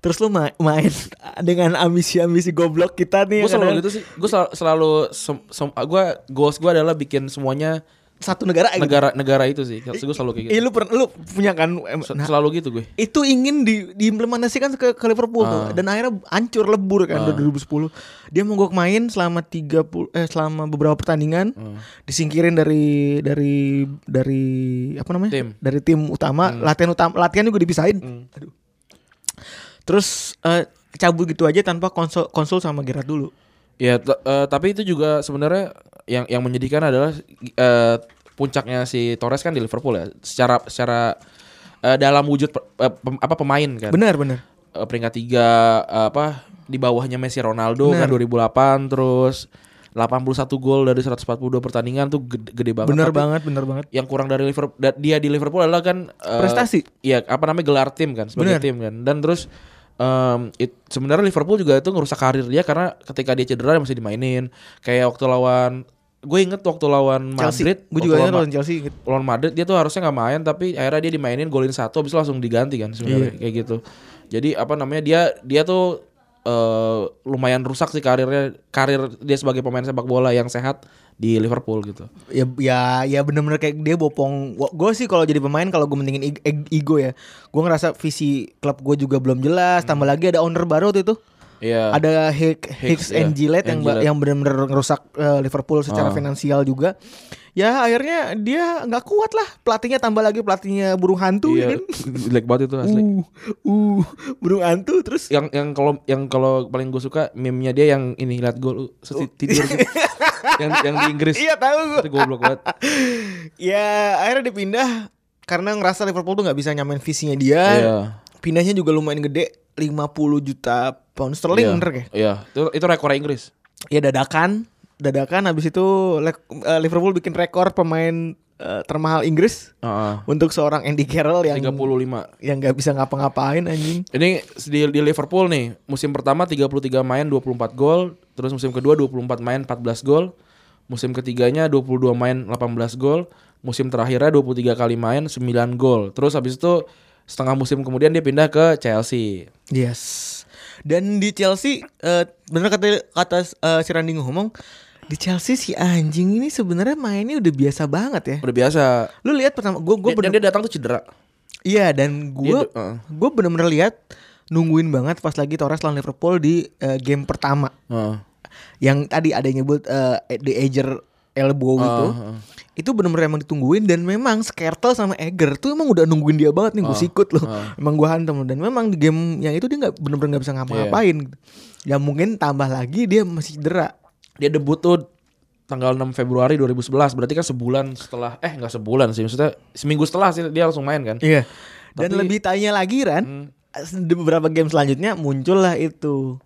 Speaker 2: Terus lu ma- main dengan ambisi-ambisi goblok kita nih. yang
Speaker 3: gue selalu
Speaker 2: ada
Speaker 3: gitu sih gue selalu, selalu sem, sem- gue goals gue adalah bikin semuanya
Speaker 2: satu negara gitu.
Speaker 3: negara negara itu sih gue selalu kayak gitu
Speaker 2: Iya, lu pernah lu punya kan em-
Speaker 3: Se-
Speaker 2: nah,
Speaker 3: selalu gitu gue
Speaker 2: itu ingin di, diimplementasikan ke, ke Liverpool tuh.
Speaker 3: Ah.
Speaker 2: dan akhirnya hancur lebur kan dari 2010. Dia mogok main selama 30 eh selama beberapa pertandingan
Speaker 3: Ah.
Speaker 2: disingkirin dari dari dari apa namanya?
Speaker 3: Tim. Hmm.
Speaker 2: dari tim utama, latihan utama, latihan juga dipisahin. Aduh. Terus eh, cabut gitu aja tanpa konsul konsul sama Gerard dulu.
Speaker 3: ya t- eh, tapi itu juga sebenarnya yang yang menyedihkan adalah eh, puncaknya si Torres kan di Liverpool ya secara secara eh, dalam wujud per- eh, pem- apa pemain kan
Speaker 2: Benar, benar.
Speaker 3: eh, peringkat tiga eh, apa di bawahnya Messi Ronaldo
Speaker 2: Bener.
Speaker 3: kan 2008 terus 81 gol dari 142 pertandingan tuh gede, gede banget.
Speaker 2: Benar
Speaker 3: Tapi
Speaker 2: banget, benar banget.
Speaker 3: Yang kurang dari Liverpool da- dia di Liverpool adalah kan eh,
Speaker 2: Prestasi.
Speaker 3: Iya, apa namanya gelar tim kan
Speaker 2: Bener.
Speaker 3: sebagai tim kan. Dan terus em, it- sebenarnya Liverpool juga itu ngerusak karir dia karena ketika dia cedera dia masih dimainin. Kayak waktu lawan gue inget waktu lawan
Speaker 2: Chelsea.
Speaker 3: Madrid,
Speaker 2: Gue
Speaker 3: waktu
Speaker 2: juga
Speaker 3: lawan Ma-
Speaker 2: lawan Chelsea inget.
Speaker 3: lawan Madrid dia tuh harusnya nggak main tapi akhirnya dia dimainin golin satu habis itu langsung diganti kan
Speaker 2: Iya.
Speaker 3: sebenarnya kayak gitu jadi apa namanya dia dia tuh eh, lumayan rusak sih karirnya karir dia sebagai pemain sepak bola yang sehat di Liverpool gitu
Speaker 2: ya ya ya bener-bener kayak dia bopong gue sih kalau jadi pemain kalau gue mendingin ig- ig- ego ya gue ngerasa visi klub gue juga belum jelas tambah
Speaker 3: Hmm.
Speaker 2: lagi ada owner baru waktu itu
Speaker 3: Iya.
Speaker 2: ada Hick- Hicks,
Speaker 3: Hicks, ya.
Speaker 2: and Gillette yang
Speaker 3: And
Speaker 2: ba-
Speaker 3: Gillette. Ah.
Speaker 2: yang bener-bener ngerusak eh, Liverpool secara finansial juga ya akhirnya dia nggak kuat lah pelatihnya tambah lagi pelatihnya burung hantu ya
Speaker 3: iya
Speaker 2: kan
Speaker 3: jelek banget itu asli Iya.
Speaker 2: uh uh burung hantu terus
Speaker 3: yang yang kalau yang kalau paling gue suka meme-nya dia yang ini lihat gol uh, terus tidur gitu. yang yang di Inggris
Speaker 2: iya tahu gue
Speaker 3: itu goblok banget
Speaker 2: ya akhirnya dipindah karena ngerasa Liverpool tuh nggak bisa nyamain visinya dia
Speaker 3: iya
Speaker 2: pindahnya juga lumayan gede 50 juta pound sterling
Speaker 3: iya
Speaker 2: bener ya
Speaker 3: iya itu, itu rekor Inggris
Speaker 2: ya dadakan dadakan habis itu Le- eh, Liverpool bikin rekor pemain eh, termahal Inggris
Speaker 3: Heeh.
Speaker 2: untuk seorang Andy Carroll yang
Speaker 3: 35.
Speaker 2: yang nggak bisa ngapa-ngapain anjing.
Speaker 3: Ini di, di Liverpool nih, musim pertama 33 main 24 gol, terus musim kedua 24 main 14 gol, musim ketiganya 22 main 18 gol, musim terakhirnya 23 kali main 9 gol. Terus habis itu setengah musim kemudian dia pindah ke Chelsea.
Speaker 2: Yes. Dan di Chelsea eh, bener kata kata eh, si Randy ngomong di Chelsea si anjing ini sebenarnya mainnya udah biasa banget ya.
Speaker 3: Udah biasa.
Speaker 2: Lu lihat pertama gue gue
Speaker 3: Dia- dan dia datang tuh cedera.
Speaker 2: Iya dan gue
Speaker 3: Dia- heeh.
Speaker 2: gue bener-bener lihat nungguin banget pas lagi Torres lawan Liverpool di eh, game pertama
Speaker 3: Heeh.
Speaker 2: yang tadi ada yang nyebut eh, the Edger elbow itu itu bener-bener emang ditungguin dan memang Skertel sama Eger tuh emang udah nungguin dia banget nih gue sikut loh emang gue hantam loh. dan memang di game yang itu dia nggak bener-bener nggak bisa ngapa-ngapain ya mungkin tambah lagi dia masih cedera
Speaker 3: Dia debut tuh tanggal 6 Februari 2011. Berarti kan sebulan setelah eh nggak sebulan sih, maksudnya seminggu setelah sih dia langsung main kan.
Speaker 2: Iya. Dan
Speaker 3: Tapi- Hmm.
Speaker 2: lebih tanya lagi Ran, di beberapa game selanjutnya muncullah itu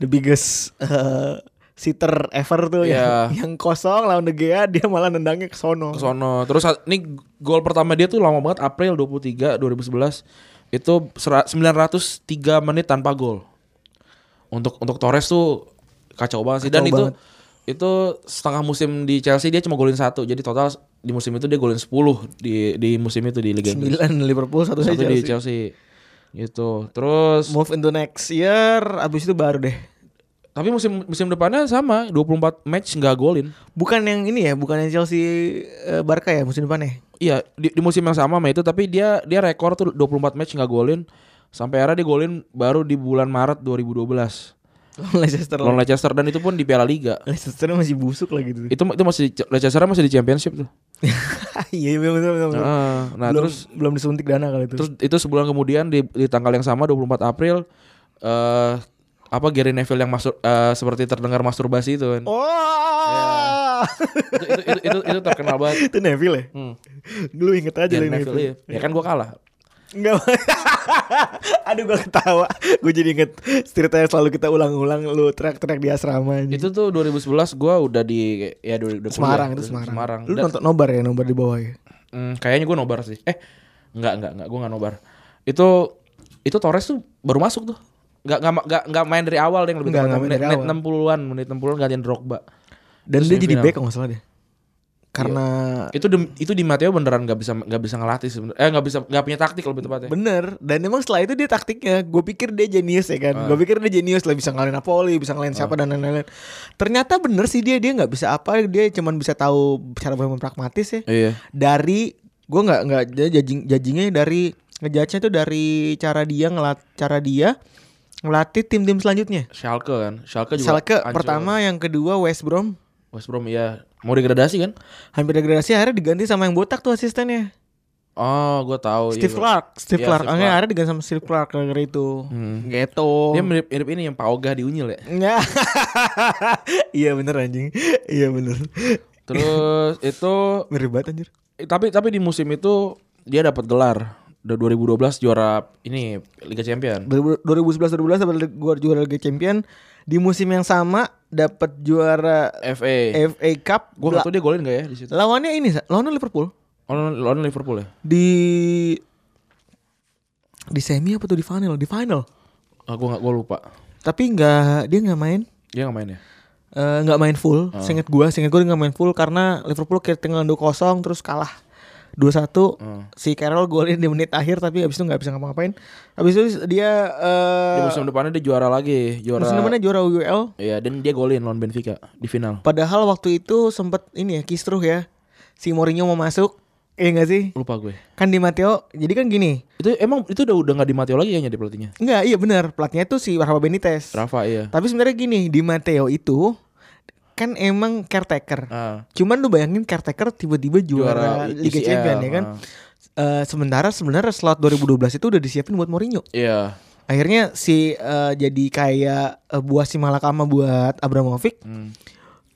Speaker 2: the biggest eh, sitter ever tuh yang,
Speaker 3: Iya.
Speaker 2: yang kosong lawan De Gea dia malah nendangnya ke sono.
Speaker 3: ke sono. Terus saat- ini gol pertama dia tuh lama banget April 23 2011 itu sera- 903 menit tanpa gol. Untuk untuk Torres tuh kacau banget sih dan
Speaker 2: Kacau
Speaker 3: itu
Speaker 2: banget.
Speaker 3: itu setengah musim di Chelsea dia cuma golin satu. Jadi total di musim itu dia golin 10 di di musim itu di Liga Inggris.
Speaker 2: 9 Liverpool satu
Speaker 3: Satu
Speaker 2: saja.
Speaker 3: di Chelsea. Gitu. Terus
Speaker 2: Move into next year abis itu baru deh.
Speaker 3: tapi musim musim depannya sama 24 match nggak golin.
Speaker 2: Bukan yang ini ya, bukan yang Chelsea eh, Barca ya musim depannya.
Speaker 3: Iya di, di musim yang sama sama itu tapi dia dia rekor tuh 24 match nggak golin sampai era dia golin baru di bulan Maret 2012
Speaker 2: Lawan Leicester.
Speaker 3: lawan Leicester dan itu pun di Piala Liga
Speaker 2: Leicester masih busuk lagi tuh.
Speaker 3: itu itu masih Leicester masih di Championship tuh
Speaker 2: Iya benar benar. benar.
Speaker 3: Heeh. nah
Speaker 2: belum,
Speaker 3: terus
Speaker 2: belum disuntik dana kali itu.
Speaker 3: terus itu sebulan kemudian di, di tanggal yang sama 24 April eh apa Gary Neville yang masuk eh, seperti terdengar masturbasi itu kan
Speaker 2: Oh.
Speaker 3: itu, itu, itu, itu, itu terkenal banget
Speaker 2: itu Neville ya? Lu inget aja
Speaker 3: Gary
Speaker 2: lu Neville.
Speaker 3: Neville iya. ya kan gua kalah
Speaker 2: Enggak. Aduh gua ketawa. Gue jadi inget cerita yang selalu kita ulang-ulang lu teriak-teriak di asrama anjing.
Speaker 3: itu tuh 2011 gua udah di ya udah, udah
Speaker 2: Iya.
Speaker 3: kuliah.
Speaker 2: Semarang itu
Speaker 3: Udah
Speaker 2: Semarang.
Speaker 3: Semarang
Speaker 2: Lu
Speaker 3: Dan-
Speaker 2: nonton nobar ya, nobar di bawah ya.
Speaker 3: Hmm, kayaknya gue nobar sih. Eh, nggak nggak nggak gue nggak nobar. Itu itu Torres tuh baru masuk tuh. Nggak nggak nggak nggak main dari awal deh yang lebih
Speaker 2: Nggak,
Speaker 3: tepatnya.
Speaker 2: nggak main
Speaker 3: menit,
Speaker 2: dari
Speaker 3: menit
Speaker 2: awal.
Speaker 3: 60-an, menit 60-an gantiin Drogba.
Speaker 2: Dan
Speaker 3: Terus Iya.
Speaker 2: dia jadi
Speaker 3: semifinal.
Speaker 2: back kalau nggak salah deh. Karena
Speaker 3: Itu di, itu di Matteo beneran nggak bisa nggak bisa ngelatih sebenarnya. Eh nggak bisa nggak punya taktik lebih tepatnya.
Speaker 2: Bener Dan emang setelah itu dia taktiknya Gue pikir dia jenius ya kan
Speaker 3: Ah.
Speaker 2: Gue pikir dia jenius lah Bisa ngalahin Napoli Bisa ngalahin siapa dan lain-lain Ternyata bener sih dia Dia nggak bisa apa Dia cuman bisa tahu Cara bermain pragmatis ya
Speaker 3: Iya.
Speaker 2: dari gue nggak nggak dia judging judgingnya dari ngejudge-nya tuh dari cara dia ngelat cara dia ngelatih tim-tim selanjutnya.
Speaker 3: Schalke kan. Schalke juga.
Speaker 2: Schalke
Speaker 3: ancur.
Speaker 2: pertama, yang kedua West Brom
Speaker 3: West Brom ya mau degradasi kan?
Speaker 2: hampir degradasi akhirnya diganti sama yang botak tuh asistennya.
Speaker 3: Oh, gue tahu. iya,
Speaker 2: Steve
Speaker 3: gua-
Speaker 2: Clark, Steve
Speaker 3: Iya,
Speaker 2: Clark.
Speaker 3: Steve
Speaker 2: Akhirnya
Speaker 3: Clark.
Speaker 2: akhirnya diganti sama Steve Clark gara-gara itu.
Speaker 3: Hmm.
Speaker 2: Gitu.
Speaker 3: Dia mirip, mirip ini yang Paoga di Unyil ya.
Speaker 2: Ya. Iya bener anjing. Iya bener.
Speaker 3: Terus itu
Speaker 2: Mirip banget anjir.
Speaker 3: Eh, tapi tapi di musim itu dia dapat gelar Udah 2012 juara ini Liga Champion.
Speaker 2: 2011 2012 dapat gua juara Liga Champion di musim yang sama dapat juara
Speaker 3: FA.
Speaker 2: FA Cup.
Speaker 3: Gua
Speaker 2: La-
Speaker 3: enggak tahu dia golin gak ya di situ. Oh,
Speaker 2: Lawannya ini, Sa. lawannya Liverpool
Speaker 3: Lawan lawan Liverpool ya.
Speaker 2: di di semi apa tuh di final? Di final.
Speaker 3: Ah, gua enggak gua lupa.
Speaker 2: Tapi nggak dia nggak main
Speaker 3: Dia enggak main ya.
Speaker 2: eh, nggak main full.
Speaker 3: Ah.
Speaker 2: Seinget gua, seinget gua dia nggak main full karena Liverpool ketinggalan 2-0 terus kalah. 2-1
Speaker 3: Ah.
Speaker 2: si Carroll golin di menit akhir tapi abis itu nggak bisa ngapa-ngapain. Abis itu dia eh
Speaker 3: Di musim depannya dia juara lagi, juara.
Speaker 2: musim depannya juara UEL.
Speaker 3: Iya, dan dia golin lawan Benfica di final.
Speaker 2: Padahal waktu itu sempet ini ya kisruh ya. Si Mourinho mau masuk. Iya gak sih?
Speaker 3: Lupa gue.
Speaker 2: Kan di Matteo. Jadi kan gini.
Speaker 3: Itu emang itu udah udah enggak di Matteo lagi kayaknya di pelatihnya.
Speaker 2: Enggak, iya benar. Platnya itu si Rafa Benitez.
Speaker 3: Rafa iya.
Speaker 2: Tapi sebenarnya gini, di Matteo itu kan emang caretaker.
Speaker 3: Ah.
Speaker 2: Cuman lu bayangin caretaker tiba-tiba juara,
Speaker 3: Juara I-
Speaker 2: Liga
Speaker 3: ICL,
Speaker 2: Champion ya kan.
Speaker 3: ah.
Speaker 2: Eh, sementara sebenarnya slot 2012 itu udah disiapin buat Mourinho.
Speaker 3: Iya.
Speaker 2: Akhirnya si eh, jadi kayak eh, buah si Malakama buat Abramovich.
Speaker 3: Hmm.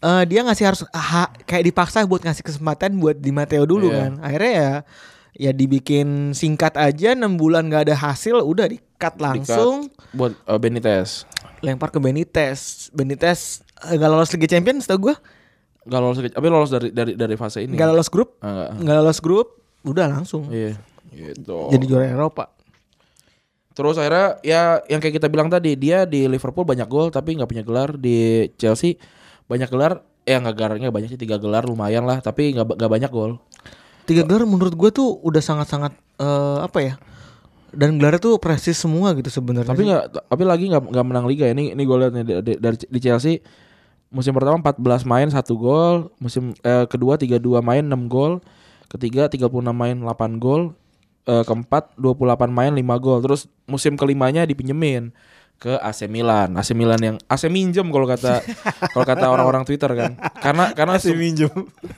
Speaker 2: Eh, dia ngasih harus ha- kayak dipaksa buat ngasih kesempatan buat di Matteo dulu
Speaker 3: Iya.
Speaker 2: kan. Akhirnya ya ya dibikin singkat aja 6 bulan gak ada hasil udah di cut
Speaker 3: Di-cut
Speaker 2: langsung
Speaker 3: buat eh, Benitez.
Speaker 2: lempar ke Benitez. Benitez eh, nggak lolos Liga Champions setahu gue
Speaker 3: Gak lolos tapi lolos dari dari dari fase ini.
Speaker 2: nggak lolos grup
Speaker 3: Ah, nggak.
Speaker 2: nggak lolos grup udah langsung
Speaker 3: Iya. Gitu.
Speaker 2: jadi juara Eropa
Speaker 3: Terus akhirnya ya yang kayak kita bilang tadi dia di Liverpool banyak gol tapi nggak punya gelar di Chelsea banyak gelar eh nggak gelarnya nggak banyak sih tiga gelar lumayan lah tapi nggak ba- nggak banyak gol. Iya.
Speaker 2: tiga gelar menurut gue tuh udah sangat-sangat eh, apa ya dan gelarnya tuh prestis semua gitu sebenarnya
Speaker 3: Tapi nggak tapi lagi nggak nggak menang liga ya. Ini ini gue lihat nih di- di- dari di Chelsea musim pertama 14 main satu gol, musim eh, kedua 32 main 6 gol, ketiga 36 main 8 gol, eh, keempat 28 main 5 gol. Terus musim kelimanya dipinjemin ke AC Milan. AC Milan yang AC minjem kalau kata kalau kata orang-orang Twitter kan. Karena karena
Speaker 2: sih
Speaker 3: se-
Speaker 2: minjem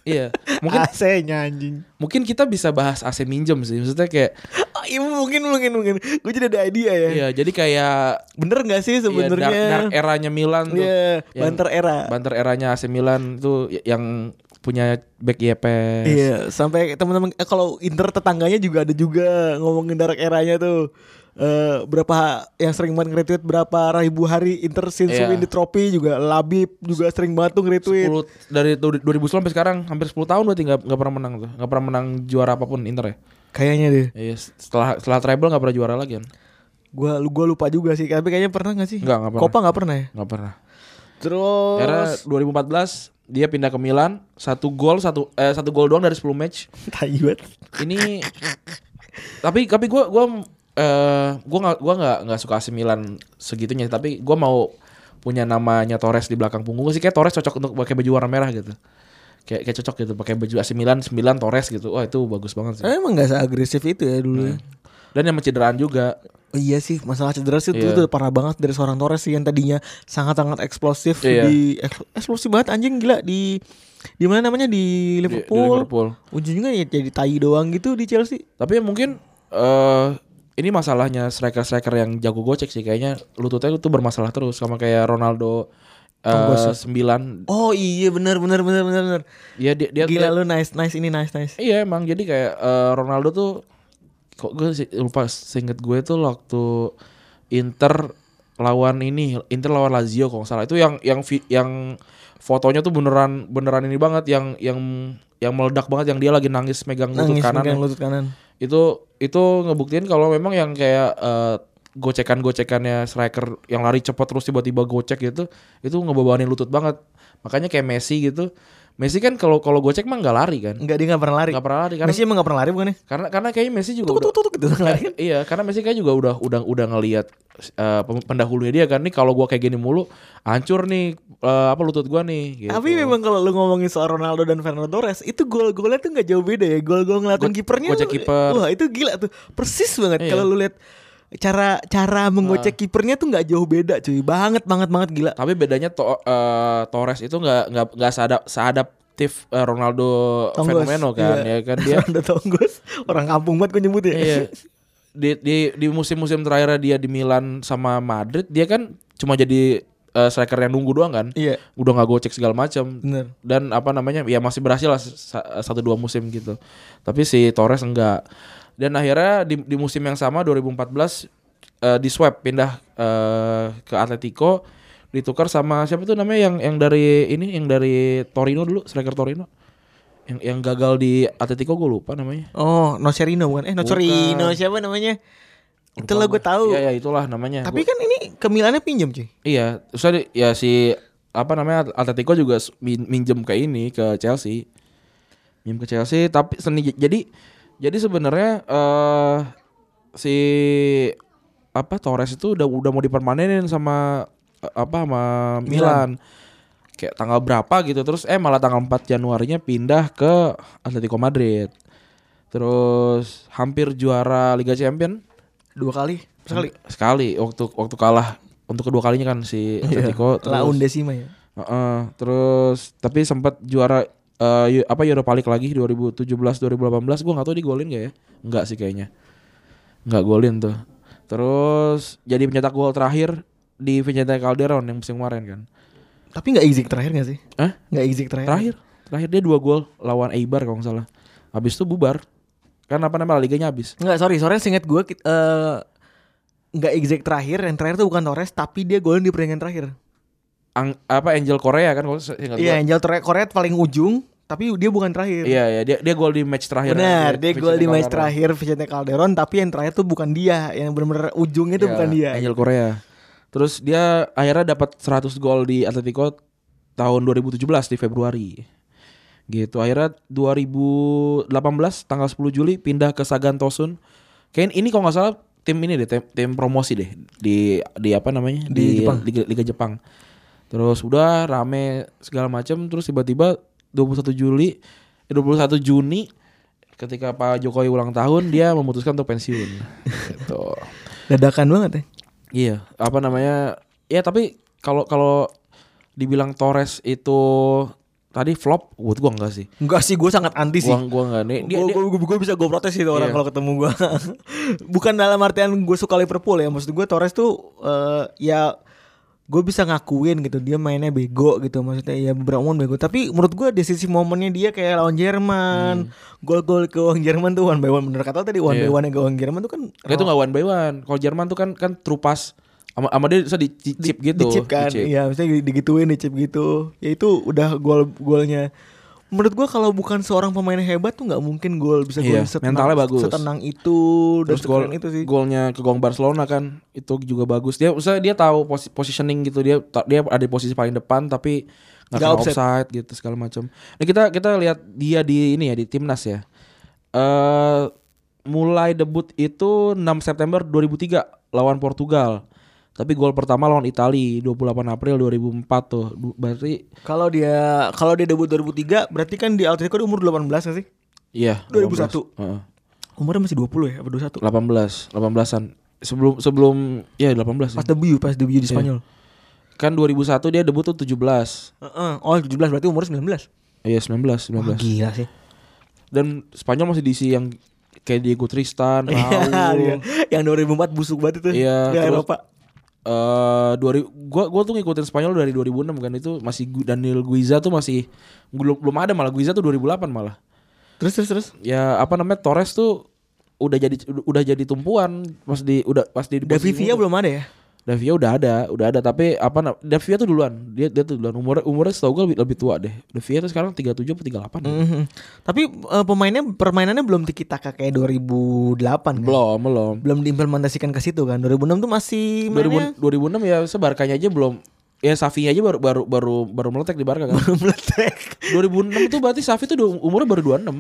Speaker 3: iya. Mungkin
Speaker 2: mungkin AC-nya anjing
Speaker 3: mungkin kita bisa bahas AC minjem sih. Maksudnya kayak
Speaker 2: Oh, iya mungkin mungkin mungkin gue jadi ada idea ya
Speaker 3: iya jadi kayak
Speaker 2: bener nggak sih
Speaker 3: iya, dark, dark
Speaker 2: sebenarnya
Speaker 3: eranya Milan tuh.
Speaker 2: Iya,
Speaker 3: Yang-
Speaker 2: banter era
Speaker 3: Banter eranya AC Milan tuh y- yang punya back Yepes.
Speaker 2: Iya, sampai teman-teman eh, kalau Inter tetangganya juga ada juga ngomongin dark eranya tuh. Eh berapa yang sering banget nge-retweet berapa ribu hari Inter since
Speaker 3: Iya.
Speaker 2: win di trofi juga Labib juga sering banget tuh nge-retweet.
Speaker 3: 10 dari tu- 2010 sampai sekarang hampir 10 tahun berarti nggak nggak pernah menang tuh. Nggak pernah menang juara apapun Inter ya.
Speaker 2: Kayaknya deh.
Speaker 3: Iya, setelah setelah treble nggak pernah juara lagi kan.
Speaker 2: Gua gua lupa juga sih, tapi kayaknya pernah gak sih?
Speaker 3: Nggak, nggak pernah.
Speaker 2: Copa nggak pernah ya?
Speaker 3: Nggak pernah.
Speaker 2: Terus
Speaker 3: Era 2014 dia pindah ke Milan, satu gol satu eh, satu gol doang dari 10 match.
Speaker 2: tai banget.
Speaker 3: Ini tapi tapi gua gua eh gua nggak gua nggak nggak suka AC Milan segitunya tapi gua mau punya namanya Torres di belakang punggung sih kayak Torres cocok untuk pakai baju warna merah gitu. Kayak kayak cocok gitu pakai baju AC Milan 9 Torres gitu. Wah, itu bagus banget sih.
Speaker 2: Eh, Emang gak seagresif itu ya dulu
Speaker 3: Iya.
Speaker 2: ya?
Speaker 3: Dan yang cederaan juga.
Speaker 2: Oh, iya sih, masalah cedera sih itu
Speaker 3: Iya.
Speaker 2: tuh parah banget dari seorang Torres sih yang tadinya sangat-sangat eksplosif
Speaker 3: Iya.
Speaker 2: di eks- eksplosif banget anjing gila di di mana namanya di
Speaker 3: di- di
Speaker 2: Liverpool.
Speaker 3: Liverpool.
Speaker 2: Ujungnya ya jadi tai doang gitu di Chelsea.
Speaker 3: Tapi mungkin eh ini masalahnya striker-striker yang jago gocek sih kayaknya lututnya itu bermasalah terus sama kayak Ronaldo eh
Speaker 2: Tonggos.
Speaker 3: 9
Speaker 2: Oh iya benar benar benar benar benar.
Speaker 3: ya dia dia
Speaker 2: Gila lu nice nice ini nice nice.
Speaker 3: Iya emang jadi kayak eh, Ronaldo tuh kok gue sih- lupa seinget gue tuh waktu Inter lawan ini Inter lawan Lazio kalau nggak salah itu yang yang vi- yang fotonya tuh beneran beneran ini banget yang yang yang meledak banget yang dia lagi nangis megang lutut
Speaker 2: Nangis
Speaker 3: kanan
Speaker 2: megang lutut kanan.
Speaker 3: itu itu ngebuktiin kalau memang yang kayak eh, gocekan-gocekannya striker yang lari cepat terus tiba-tiba gocek gitu itu ngebebanin lutut banget makanya kayak Messi gitu Messi kan kalau kalau gocek mah nggak lari kan
Speaker 2: Enggak dia enggak pernah lari.
Speaker 3: nggak pernah lari karena
Speaker 2: Messi emang enggak pernah lari bukan ya?
Speaker 3: karena karena kayaknya Messi juga
Speaker 2: Tuk
Speaker 3: udah,
Speaker 2: tuk tuk gitu lari.
Speaker 3: iya karena Messi kayak juga udah udah udah ngelihat eh, pem- pendahulunya dia kan nih kalau gua kayak gini mulu hancur nih eh, apa lutut gua nih gitu.
Speaker 2: Tapi memang kalau lu ngomongin soal Ronaldo dan Fernando Torres, itu gol-golnya tuh nggak jauh beda ya. Gol-gol ngelatin
Speaker 3: Go-
Speaker 2: kipernya.
Speaker 3: gocek kiper.
Speaker 2: Wah, itu gila tuh. Persis banget
Speaker 3: Iya. Ah.
Speaker 2: kalau lu lihat cara cara menggocek kipernya tuh nggak jauh beda, cuy. Banget banget banget gila.
Speaker 3: tapi bedanya to- eh, Torres itu nggak nggak nggak seadap seadaptif eh, Ronaldo
Speaker 2: Tonggos.
Speaker 3: fenomeno kan
Speaker 2: Iya.
Speaker 3: ya kan dia
Speaker 2: Ronaldo Tonggos, orang kampung banget gue nyebut ya.
Speaker 3: iya. di di di musim-musim terakhir dia di Milan sama Madrid dia kan cuma jadi eh, striker yang nunggu doang kan
Speaker 2: Iya.
Speaker 3: udah nggak gocek segala macam
Speaker 2: Bener.
Speaker 3: dan apa namanya ya masih berhasil lah sa- satu dua musim gitu tapi si Torres enggak dan akhirnya di, di musim yang sama 2014 eh, di swap pindah eh, ke Atletico ditukar sama siapa tuh namanya yang yang dari ini yang dari Torino dulu striker Torino yang yang gagal di Atletico gue lupa namanya
Speaker 2: Oh, Nocerino bukan? Eh, Nocerino siapa namanya? Itulah gue tahu.
Speaker 3: Iya, ya itulah namanya
Speaker 2: Tapi
Speaker 3: Gua-
Speaker 2: kan ini ke Milannya pinjam, cuy.
Speaker 3: iya terus ada- ya si apa namanya Atletico juga s- min- minjem ke ini ke Chelsea minjem ke Chelsea tapi seni jadi jadi sebenarnya eh si apa Torres itu udah udah mau dipermanenin sama eh, apa sama Milan. Kayak tanggal berapa gitu terus eh malah tanggal 4 Januarinya pindah ke Atletico Madrid. Terus hampir juara Liga Champion
Speaker 2: Dua kali. Sekali.
Speaker 3: sekali waktu waktu kalah untuk kedua kalinya kan si
Speaker 2: Iya.
Speaker 3: Atletico terus
Speaker 2: Laun Decima ya.
Speaker 3: Heeh, terus tapi sempat juara eh, Eu- apa Europa League lagi 2017 2018 gua nggak tahu digolin gak ya nggak sih kayaknya nggak golin tuh terus jadi pencetak gol terakhir di Vicente Calderon yang musim kemarin kan
Speaker 2: Tapi nggak exit terakhir nggak sih?
Speaker 3: Hah?
Speaker 2: Nggak exit terakhir.
Speaker 3: terakhir terakhir dia dua gol lawan Eibar kalau nggak salah habis itu bubar kan apa namanya liganya habis
Speaker 2: Enggak, sorry, sorry seingat gue eh, nggak exact terakhir, yang terakhir tuh bukan Torres tapi dia golin di pertandingan terakhir.
Speaker 3: ang, apa Angel Korea kan kalau saya nggak
Speaker 2: Iya,
Speaker 3: salah.
Speaker 2: Angel Tre- Korea paling ujung, tapi dia bukan terakhir.
Speaker 3: Iya iya dia dia gol di match terakhir.
Speaker 2: Benar, dia gol di match
Speaker 3: Calderon.
Speaker 2: terakhir Vicente Calderon, tapi yang terakhir tuh bukan dia, yang benar-benar ujungnya tuh
Speaker 3: Iya,
Speaker 2: bukan dia.
Speaker 3: Angel Korea. Terus dia akhirnya dapat 100 gol di Atletico tahun 2017 di Februari. Gitu. Akhirnya 2018 tanggal 10 Juli pindah ke Sagantosun. Kayaknya ini kalau nggak salah tim ini deh tim, tim promosi deh di di apa namanya di,
Speaker 2: Jepang.
Speaker 3: Liga, Liga Jepang. Terus udah rame segala macam terus tiba-tiba 21 Juli eh, 21 Juni ketika Pak Jokowi ulang tahun dia memutuskan untuk pensiun. gitu.
Speaker 2: Dadakan banget ya.
Speaker 3: Iya, apa namanya? Ya tapi kalau kalau dibilang Torres itu tadi flop, buat gua enggak sih.
Speaker 4: Enggak sih, gue sangat anti
Speaker 2: Iya
Speaker 4: sih.
Speaker 3: Gua gua enggak nih. Dia, dia-
Speaker 4: Gue bisa gue protes itu orang
Speaker 3: Iya.
Speaker 4: kalau ketemu gue.
Speaker 2: Bukan dalam artian gue suka Liverpool ya, maksud gue Torres tuh eh, ya gue bisa ngakuin gitu dia mainnya bego gitu maksudnya ya beberapa momen bego tapi menurut gue di sisi momennya dia kayak lawan Jerman gol-gol ke gawang Jerman tuh one by one bener kata lo tadi one
Speaker 3: Hmm. Iya.
Speaker 2: by one ke gawang Jerman tuh kan
Speaker 3: dia tuh enggak one by one. Kalau Jerman tuh kan kan trupas sama sama dia bisa dicip gitu.
Speaker 2: dicip kan
Speaker 3: dicip.
Speaker 2: iya maksudnya di- digituin dicip gitu ya itu udah gol golnya menurut gua kalau bukan seorang pemain hebat tuh nggak mungkin gol bisa gol
Speaker 3: Iya, mentalnya bagus.
Speaker 2: setenang itu dan
Speaker 3: Terus gol
Speaker 2: sekeren itu sih
Speaker 3: golnya ke gawang Barcelona kan itu juga bagus. Dia usah dia tahu posi- positioning gitu dia ta- dia ada di posisi paling depan tapi nggak
Speaker 2: Nggak
Speaker 3: kena
Speaker 2: offside.
Speaker 3: offside. gitu segala macam. Nah kita kita lihat dia di ini ya di timnas ya. Eh mulai debut itu 6 September 2003 lawan Portugal. Tapi gol pertama lawan Itali 28 April 2004 tuh. Du- Berarti
Speaker 2: kalau dia kalau dia debut 2003 berarti kan di Atletico dia umur 18 nggak sih
Speaker 3: iya
Speaker 2: 2001.
Speaker 3: 18. Heeh.
Speaker 2: umurnya masih 20 ya apa 21
Speaker 3: 18, 18-an. Sebelum sebelum ya 18
Speaker 2: pas
Speaker 3: ya.
Speaker 2: debut pas debut di Spanyol
Speaker 3: Kan 2001 dia debut tuh 17.
Speaker 2: Heeh. oh 17 berarti umurnya 19
Speaker 3: Iya 19,
Speaker 2: Wah,
Speaker 3: 19.
Speaker 2: gila sih
Speaker 3: Dan Spanyol masih diisi yang kayak Diego Tristan,
Speaker 2: Iya,
Speaker 3: Raul.
Speaker 2: yang 2004 busuk banget itu
Speaker 3: Iya,
Speaker 2: di
Speaker 3: terus-
Speaker 2: Eropa
Speaker 3: Eh, 2000 gua gua tuh ngikutin Spanyol dari 2006 kan itu masih Gu- Daniel Guiza tuh masih belum belum ada malah Guiza tuh 2008 malah.
Speaker 2: terus terus terus
Speaker 3: Ya apa namanya Torres tuh udah jadi udah jadi tumpuan pas di udah pas di
Speaker 2: Davivia belum ada ya
Speaker 3: Davia udah ada, udah ada tapi apa na- Davia tuh duluan. Dia dia tuh duluan umurnya umurnya setahu gua lebih, lebih tua deh. Davia tuh sekarang 37 atau 38. ya?
Speaker 2: Mhm. Tapi eh, pemainnya permainannya belum tiki taka kayak 2008 kan?
Speaker 3: Belum, belum.
Speaker 2: Belum diimplementasikan ke situ kan. 2006 tuh masih mainnya
Speaker 3: 2000, 2006 ya sebarkanya aja belum ya Safi aja baru baru baru baru meletek di Barca kan.
Speaker 2: belum meletek.
Speaker 3: 2006 tuh berarti Safi tuh du- umurnya baru 26.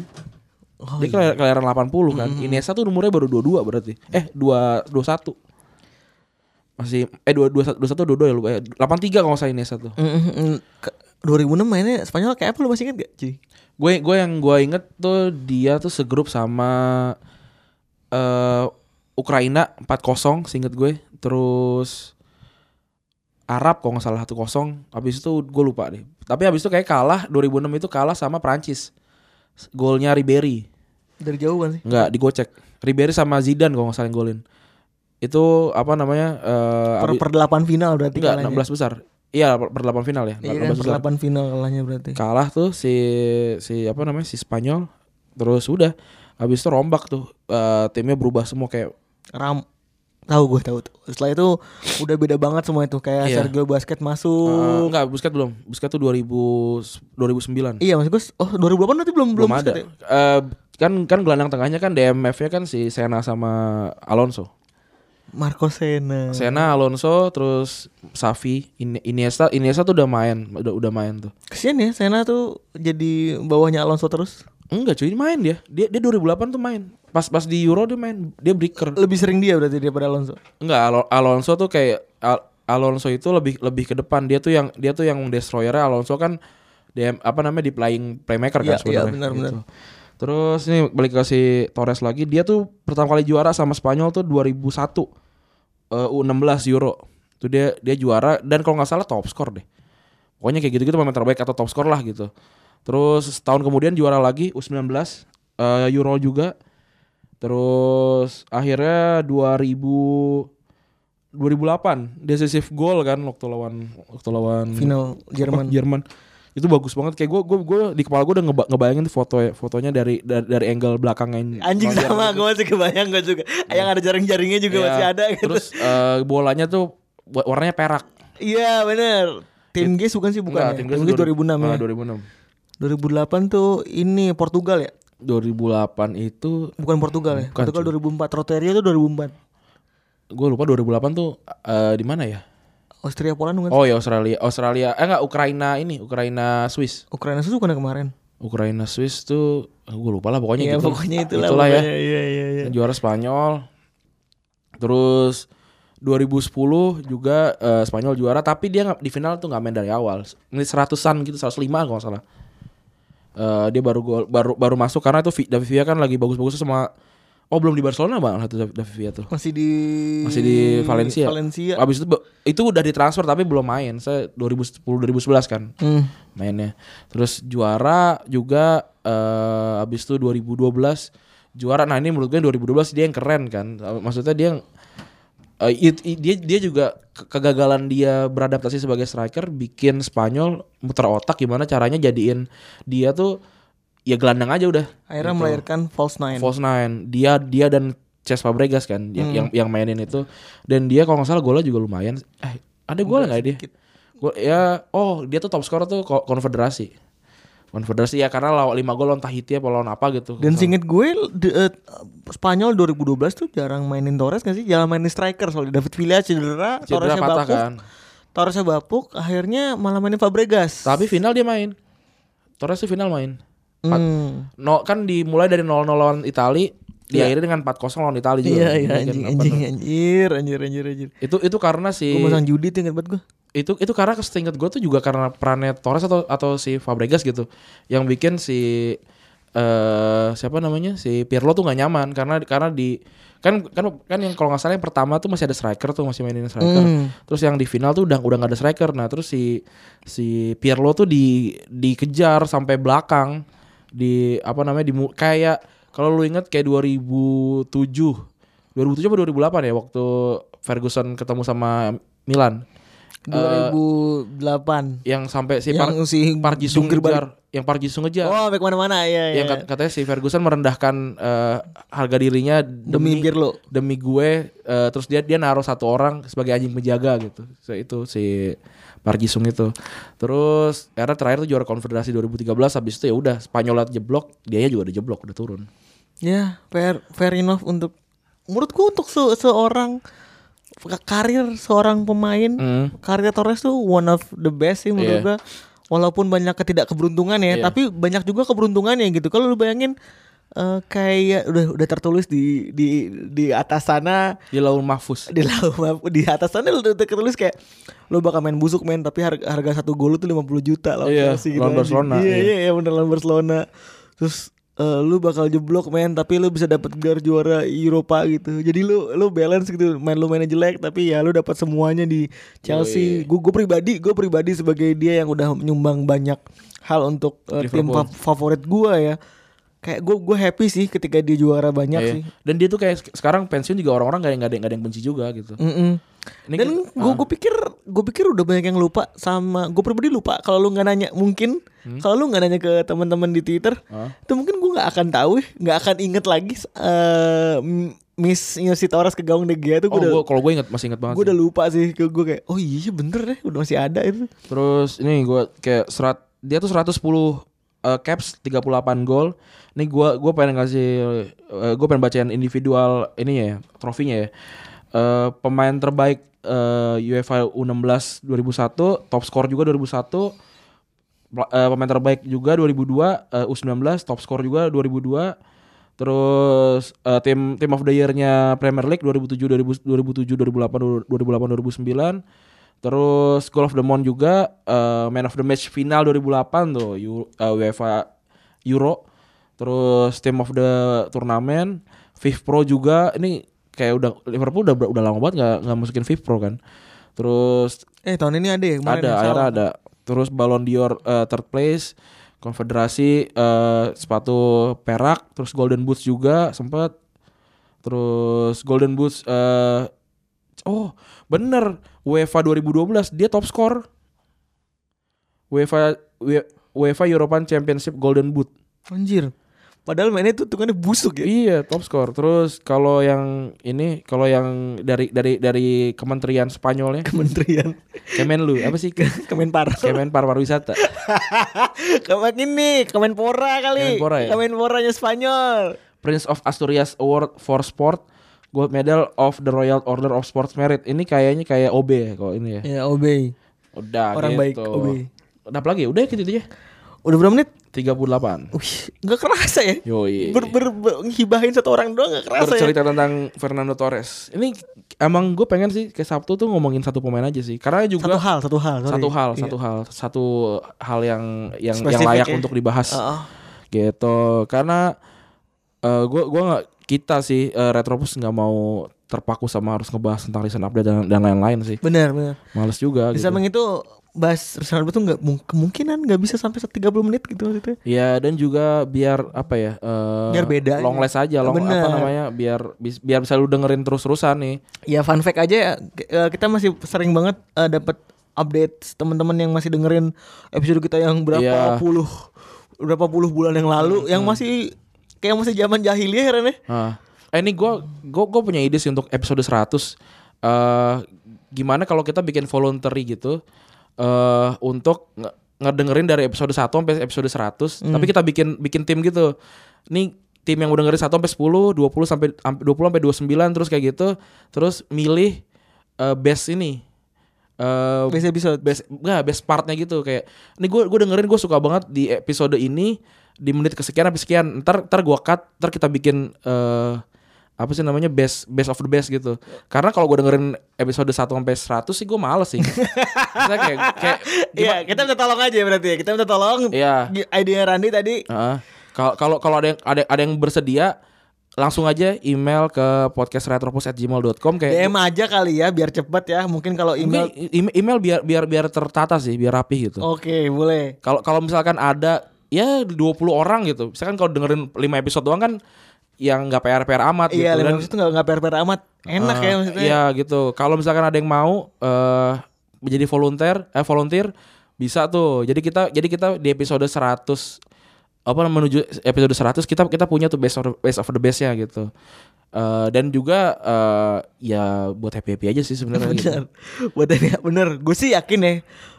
Speaker 3: Dia kelar- kelahiran 80 kan. Iniesta tuh umurnya baru 22 berarti. Eh 2 21. Masih eh 2 21 21 22 ya lupa ya. 83 kalau saya Iniesta tuh.
Speaker 2: Mhm. Ke- 2006 mainnya Spanyol kayak apa lu masih inget gak cuy?
Speaker 3: Gue gue yang gue inget tuh dia tuh segrup sama eh Ukraina 4-0 seinget gue. Terus Arab kalau nggak salah 1-0. Habis itu gue lupa deh. Tapi habis itu kayak kalah 2006 itu kalah sama Prancis. Golnya Ribery.
Speaker 2: Dari jauh kan sih?
Speaker 3: Enggak, digocek. Ribery sama Zidane kalau nggak salah yang golin. Itu apa namanya? eh
Speaker 2: Per,
Speaker 3: abis-
Speaker 2: per delapan final berarti
Speaker 3: enggak,
Speaker 2: kalahnya.
Speaker 3: 16 besar. Iya, per, per 8 final ya.
Speaker 2: Iya kan,
Speaker 3: 16
Speaker 2: per
Speaker 3: besar
Speaker 2: delapan final kalahnya berarti.
Speaker 3: kalah tuh si si apa namanya si Spanyol terus udah habis itu rombak tuh Eh, timnya berubah semua kayak
Speaker 2: Ram tahu gue tahu tuh. Setelah itu udah beda banget semua itu kayak
Speaker 3: Iya.
Speaker 2: Sergio Basket
Speaker 3: eh,
Speaker 2: masuk.
Speaker 3: enggak Busquets belum Busquets tuh 2000 2009
Speaker 2: iya maksud gue oh 2008 berarti belum
Speaker 3: belum,
Speaker 2: Busquets ya?
Speaker 3: ada Eh, kan kan gelandang tengahnya kan DMF-nya kan si Sena sama Alonso
Speaker 2: Marco Senna.
Speaker 3: Sena Alonso terus Safi In- Iniesta Iniesta tuh udah main udah udah main tuh
Speaker 2: Kesian ya Sena tuh jadi bawahnya Alonso terus.
Speaker 3: enggak cuy main dia dia dia 2008 tuh main pas pas di Euro dia main dia breaker
Speaker 2: Lebih sering dia berarti daripada Alonso.
Speaker 3: Enggak, Alo- Alonso tuh kayak Al- Alonso itu lebih lebih ke depan. Dia tuh yang dia tuh yang destroyer Alonso kan DM apa namanya di playing playmaker
Speaker 2: Iya,
Speaker 3: kan
Speaker 2: iya, benar, benar.
Speaker 3: Terus nih balik ke si Torres lagi, dia tuh pertama kali juara sama Spanyol tuh 2001 eh, U16 Euro. Tuh dia dia juara dan kalau nggak salah top skor deh. Pokoknya kayak gitu-gitu pemain terbaik atau top skor lah gitu. Terus setahun kemudian juara lagi U19 eh, Euro juga. Terus akhirnya 2000 2008 decisive goal kan waktu lawan waktu lawan Oh,
Speaker 2: Final Jerman.
Speaker 3: Jerman. Itu bagus banget kayak gue gue gue di kepala gue udah ngeba- ngebayangin tuh foto fotonya dari dari, dari angle belakangnya.
Speaker 2: Anjing sama gue masih kebayang gue juga. Yang ada jaring-jaringnya juga
Speaker 3: Iya.
Speaker 2: masih ada gitu.
Speaker 3: Terus eh, bolanya tuh wa- warnanya perak.
Speaker 2: Iya bener Tim G bukan sih bukan.
Speaker 3: Enggak,
Speaker 2: ya?
Speaker 3: tim
Speaker 2: Tim G
Speaker 3: gue
Speaker 2: 2006 ya.
Speaker 3: Ah, 2006.
Speaker 2: 2008 tuh ini Portugal ya.
Speaker 3: 2008 itu
Speaker 2: Bukan Portugal ya.
Speaker 3: Bukan,
Speaker 2: Portugal 2004, Roteria itu 2004.
Speaker 3: gue lupa 2008 tuh eh, di mana ya?
Speaker 2: Austria Poland bukan?
Speaker 3: Oh ya Australia, Australia. Eh enggak Ukraina ini, Ukraina Swiss.
Speaker 2: Ukraina itu bukan kemarin.
Speaker 3: Ukraina Swiss tuh gue lupa lah pokoknya
Speaker 2: Iya,
Speaker 3: gitu.
Speaker 2: pokoknya itulah.
Speaker 3: ya.
Speaker 2: pokoknya. Iya, iya, iya.
Speaker 3: Juara Spanyol. Terus 2010 juga eh, Spanyol juara tapi dia nggak- di final tuh nggak main dari awal. Menit 100-an gitu, 105 kalau nggak salah. Eh, dia baru gol baru baru masuk karena tuh Vi- David Villa kan lagi bagus-bagus sama Oh belum di Barcelona malah tuh David David Villa tuh.
Speaker 2: Masih di
Speaker 3: Masih di Valencia. Ah.
Speaker 2: Valencia.
Speaker 3: Abis itu be- itu udah ditransfer tapi belum main. Saya 2010 2011 kan
Speaker 2: Hmm.
Speaker 3: mainnya. Terus juara juga eh abis itu 2012 juara. Nah, ini menurut gue 2012 dia yang keren kan. Maksudnya dia yang- eh, it- it- dia dia juga ke- kegagalan dia beradaptasi sebagai striker bikin Spanyol muter otak gimana caranya jadiin dia tuh ya gelandang aja udah.
Speaker 2: Akhirnya
Speaker 3: Gitu.
Speaker 2: melahirkan False Nine. Hmm.
Speaker 3: False nine. Dia dia dan Cesc Fabregas kan yang yang, yang mainin itu dan dia kalau nggak salah golnya juga lumayan. Eh, ada gol nggak dia? Gol ya oh dia tuh top scorer tuh ko- konfederasi. Konfederasi ya karena lawan 5 gol lawan Tahiti apa lawan apa gitu.
Speaker 2: Dan singkat gue de- eh, Spanyol 2012 tuh jarang mainin Torres gak sih? Jarang mainin striker soalnya David Villa cedera,
Speaker 3: Cedera
Speaker 2: Torresnya
Speaker 3: patah
Speaker 2: bapuk.
Speaker 3: kan.
Speaker 2: Torresnya bapuk, akhirnya malah mainin Fabregas.
Speaker 3: Tapi final dia main. Torres tuh final main.
Speaker 2: Hmm.
Speaker 3: No kan dimulai dari 0-0 lawan Itali diakhiri dengan 4-0 lawan Itali
Speaker 2: Iya
Speaker 3: juga.
Speaker 2: iya
Speaker 3: Bikin
Speaker 2: anjing
Speaker 3: apa
Speaker 2: anjing
Speaker 3: tuh. Iya.
Speaker 2: anjir anjir anjir anjir.
Speaker 3: Itu itu karena si
Speaker 2: Gue masang judi tuh inget banget
Speaker 3: Eh,
Speaker 2: gue.
Speaker 3: itu itu karena kesingkat gue tuh juga karena perannya Torres atau atau si Fabregas gitu yang bikin si eh siapa namanya si Pirlo tuh nggak nyaman karena karena di kan kan kan yang kalau nggak salah yang pertama tuh masih ada striker tuh masih mainin striker terus yang di final tuh udah udah nggak ada striker nah terus si si Pirlo tuh di dikejar sampai belakang di apa namanya di mu- kayak kalau lu inget kayak 2007 2007 apa 2008 ya waktu Ferguson ketemu sama Milan
Speaker 2: 2008.
Speaker 3: yang sampai si
Speaker 2: Yang
Speaker 3: iya, Par
Speaker 2: si
Speaker 3: Parji Sung
Speaker 2: Jungkir balik.
Speaker 3: ngejar, yang Parji Sung ngejar.
Speaker 2: Oh, back mana-mana ya.
Speaker 3: yang kat- katanya si Ferguson merendahkan eh, harga dirinya demi
Speaker 2: demi Pirlo.
Speaker 3: demi gue eh, terus dia dia naruh satu orang sebagai anjing penjaga gitu. So, itu si Parji Sung itu. Terus era terakhir tuh juara konfederasi 2013 habis itu ya udah Spanyol jeblok, dianya juga udah jeblok, udah turun.
Speaker 2: Ya, fair fair enough untuk menurut gue untuk se- seorang karir seorang pemain
Speaker 3: Hmm.
Speaker 2: karir Torres tuh one of the best sih menurut
Speaker 3: Iya.
Speaker 2: gue. Walaupun banyak ketidakkeberuntungan ya,
Speaker 3: Iya.
Speaker 2: tapi banyak juga keberuntungannya gitu. Kalau lu bayangin eh, kayak udah udah tertulis di di di atas sana
Speaker 3: Di Laul Mahfuz.
Speaker 2: di laut maaf, di atas sana udah udah tertulis kayak lo bakal main busuk men tapi harga, harga satu gol lu tuh 50 juta lawan
Speaker 3: Iya,
Speaker 2: Chelsea
Speaker 3: lawan
Speaker 2: anjing.
Speaker 3: Barcelona,
Speaker 2: Iya
Speaker 3: iya.
Speaker 2: iya iya bener lawan Barcelona. Terus eh, lu bakal jeblok men tapi lu bisa dapat gelar juara Eropa gitu. Jadi lu lu balance gitu. Main lu mainnya jelek tapi ya lu dapat semuanya di Chelsea. Gue pribadi, gue pribadi sebagai dia yang udah menyumbang banyak hal untuk eh, tim
Speaker 3: Liverpool.
Speaker 2: fa- favorit gua ya. Kayak gue gue happy sih ketika dia juara banyak
Speaker 3: Iya.
Speaker 2: sih.
Speaker 3: Dan dia tuh kayak sek- sekarang pensiun juga orang-orang gak, ada, nggak ada yang benci juga gitu.
Speaker 2: Mm-mm.
Speaker 3: Ini
Speaker 2: Dan
Speaker 3: kita- Ah.
Speaker 2: gue pikir gue pikir udah banyak yang lupa sama gue pribadi lupa kalau lu nggak nanya mungkin
Speaker 3: Hmm?
Speaker 2: kalau lu nggak nanya ke teman-teman di Twitter itu mungkin gue nggak akan tahu ya, nggak akan inget lagi eh m- missnya si Torres ke gawang De Gea tuh
Speaker 3: Oh,
Speaker 2: gue udah
Speaker 3: gua- kalau gue inget masih inget banget.
Speaker 2: gue
Speaker 3: sih.
Speaker 2: udah lupa sih ke gue kayak oh iya bener deh udah masih ada itu
Speaker 3: Terus ini gua kayak serat dia tuh 110 eh, caps 38 gol. Ini gua gua pengen ngasih eh, gua pengen bacain individual ini ya, trofinya ya. Eh, pemain terbaik eh, UEFA U16 2001, top skor juga 2001. Pla- eh, pemain terbaik juga 2002, eh, U19 top skor juga 2002. Terus eh, tim tim of the year-nya Premier League 2007 2000, 2007 2008 2008 2009. Terus Goal of the Month juga eh, Man of the Match final 2008 tuh Euro- eh, UEFA Euro. Terus Team of the Turnamen, FIFA Pro juga ini kayak udah Liverpool udah udah lama banget nggak nggak masukin FIFA Pro kan. Terus
Speaker 2: eh tahun ini ada ya kemarin
Speaker 3: ada
Speaker 2: yang salah.
Speaker 3: akhirnya ada terus Ballon d'Or eh, third place konfederasi eh, sepatu perak terus Golden Boots juga sempat terus Golden Boots eh oh bener UEFA 2012 dia top skor UEFA We- UEFA European Championship Golden Boot
Speaker 2: anjir Padahal mainnya itu hitungannya busuk ya.
Speaker 3: Iya, top score. Terus kalau yang ini, kalau yang dari dari dari Kementerian Spanyolnya,
Speaker 2: Kementerian
Speaker 3: Kemenlu, apa sih?
Speaker 2: Kemenpar.
Speaker 3: Kemenpar Pariwisata.
Speaker 2: Kemen ini Kemenpora kali.
Speaker 3: Kemenpora ya?
Speaker 2: Kemenporanya Spanyol.
Speaker 3: Prince of Asturias Award for Sport, Gold Medal of the Royal Order of Sports Merit. Ini kayaknya kayak OB ya kalau ini ya.
Speaker 2: Ya, obey.
Speaker 3: Udah
Speaker 2: Orang baik,
Speaker 3: gitu.
Speaker 2: OB.
Speaker 3: Udah apa lagi? Udah gitu aja.
Speaker 2: Udah berapa menit?
Speaker 3: 38.
Speaker 2: Wih, gak kerasa ya?
Speaker 3: Yoi.
Speaker 2: Ber, ber, ber- ngibahin satu orang doang gak kerasa ya?
Speaker 3: iya, Bercerita tentang Fernando Torres. Ini emang gue pengen sih ke Sabtu tuh ngomongin satu pemain aja sih. Karena
Speaker 2: Satu
Speaker 3: juga
Speaker 2: hal, satu hal. sorry.
Speaker 3: satu hal,
Speaker 2: Iya.
Speaker 3: satu hal, satu hal yang yang yang
Speaker 2: Spesifik
Speaker 3: layak
Speaker 2: ya.
Speaker 3: untuk dibahas.
Speaker 2: Heeh.
Speaker 3: gitu karena eh, gua gua nggak kita sih eh, retropus nggak mau terpaku sama harus ngebahas tentang recent update dan dan lain-lain sih
Speaker 2: Benar, benar.
Speaker 3: males juga
Speaker 2: Di
Speaker 3: gitu.
Speaker 2: samping itu bahas Ronaldo itu nggak mung- kemungkinan nggak bisa sampai 30 menit gitu maksudnya.
Speaker 3: ya dan juga biar apa ya eh,
Speaker 2: Biar beda
Speaker 3: long
Speaker 2: aja.
Speaker 3: less aja long apa
Speaker 2: Bener.
Speaker 3: namanya biar bis- biar bisa lu dengerin terus-terusan nih
Speaker 2: Ya fun fact aja ya, ke- eh, kita masih sering banget eh, dapat update teman-teman yang masih dengerin episode kita yang berapa
Speaker 3: Iya. Hmm.
Speaker 2: puluh berapa puluh bulan yang lalu yang masih kayak masih zaman jahiliyah Ren, ya.
Speaker 3: Ah. Eh ini gue gua, gua punya ide sih untuk episode 100 eh Gimana kalau kita bikin voluntary gitu eh Untuk nge- ngedengerin dari episode 1 sampai episode 100 Tapi kita bikin bikin tim gitu Nih tim yang udah dengerin 1 sampai 10 20 sampai sampai- 20 sampai 29 terus kayak gitu Terus milih eh, best ini eh
Speaker 2: Best episode.
Speaker 3: best nggak best partnya gitu kayak ini gue gue dengerin gue suka banget di episode ini di menit kesekian habis sekian ntar ntar gue cut ntar kita bikin eh apa sih namanya best best of the best gitu karena kalau gue dengerin episode 1 sampai 100 sih gue males sih Maksudnya kayak kayak
Speaker 2: Iya, kita minta tolong aja berarti ya. Kita minta tolong.
Speaker 3: Iya.
Speaker 2: Di- Idea Randi tadi
Speaker 3: Heeh. kalau kalau kalau ada yang ada ada yang bersedia langsung aja email ke podcastretropus@gmail.com kayak gitu.
Speaker 2: DM aja kali ya biar cepet ya. Mungkin kalau
Speaker 3: email
Speaker 2: email Oh,
Speaker 3: email biar biar biar tertata sih biar rapi gitu
Speaker 2: Oke, boleh.
Speaker 3: Kalau kalau misalkan ada ya 20 orang gitu. Misalkan kalau dengerin 5 episode doang kan yang nggak PR-PR amat
Speaker 2: Iya,
Speaker 3: gitu. Dan,
Speaker 2: lima itu nggak nggak per amat. Enak ya
Speaker 3: eh,
Speaker 2: maksudnya.
Speaker 3: Iya gitu. Kalau misalkan ada yang mau eh menjadi volunteer eh volunteer bisa tuh. Jadi kita jadi kita di episode 100 apa menuju episode 100 kita kita punya tuh best of best of the best ya gitu. Eh dan juga eh ya buat happy happy aja sih sebenarnya. gitu.
Speaker 2: Bener. Buat ini, bener. Gue sih yakin ya.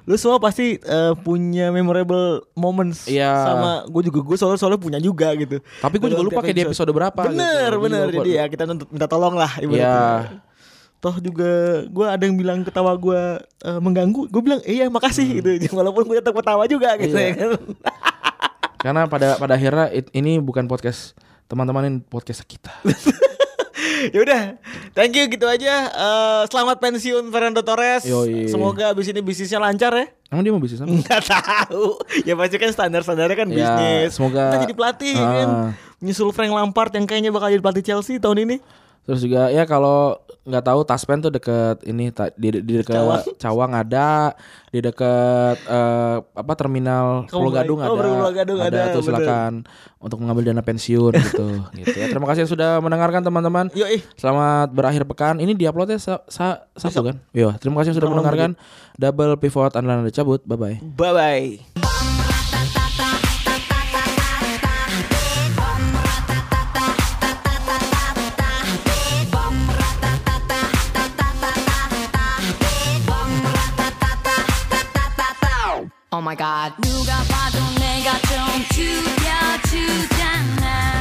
Speaker 2: Lu semua pasti eh, punya memorable moments
Speaker 3: Iya.
Speaker 2: sama gue juga gue soalnya soalnya punya juga gitu.
Speaker 3: Tapi gue juga
Speaker 2: Dalam
Speaker 3: lupa
Speaker 2: tiap
Speaker 3: kayak di episode berapa. gitu.
Speaker 2: Bener,
Speaker 3: Gua juga
Speaker 2: bener.
Speaker 3: lupa.
Speaker 2: Jadi ya kita nuntut- minta tolong lah ibaratnya.
Speaker 3: Iya.
Speaker 2: Toh juga gue ada yang bilang ketawa gue eh, mengganggu. Gue bilang iya makasih gitu. Walaupun gue tetap ketawa juga gitu
Speaker 3: Hmm. Iya.
Speaker 2: ya kan.
Speaker 3: Karena pada pada akhirnya it- ini bukan podcast teman-teman ini podcast kita.
Speaker 2: ya udah thank you gitu aja Eh, selamat pensiun Fernando Torres
Speaker 3: Yoi.
Speaker 2: semoga abis ini bisnisnya lancar ya
Speaker 3: Emang dia mau bisnis apa?
Speaker 2: nggak tahu ya pasti kan standar standarnya kan
Speaker 3: Ya,
Speaker 2: bisnis
Speaker 3: semoga-
Speaker 2: Kita jadi pelatih ya kan
Speaker 3: Ah.
Speaker 2: nyusul Frank Lampard yang kayaknya bakal jadi pelatih Chelsea tahun ini
Speaker 3: Terus juga ya kalau nggak tahu Taspen tuh deket ini ta- di, di dekat
Speaker 2: Cawang.
Speaker 3: Cawang. ada, di dekat eh, apa terminal
Speaker 2: Kamu
Speaker 3: Pulau Gadung
Speaker 2: baik.
Speaker 3: ada.
Speaker 2: Oh, Pulau Gadung ada, bener.
Speaker 3: tuh silakan untuk mengambil dana pensiun gitu. gitu ya. Terima kasih sudah mendengarkan teman-teman.
Speaker 2: yo ih
Speaker 3: Selamat berakhir pekan. Ini diuploadnya sa sa Sabtu kan? Yo, terima kasih sudah mendengarkan. Double pivot andalan Anda cabut. Bye bye.
Speaker 2: bye bye
Speaker 5: Oh my god. 누가 봐도 내가 좀 특별하잖아.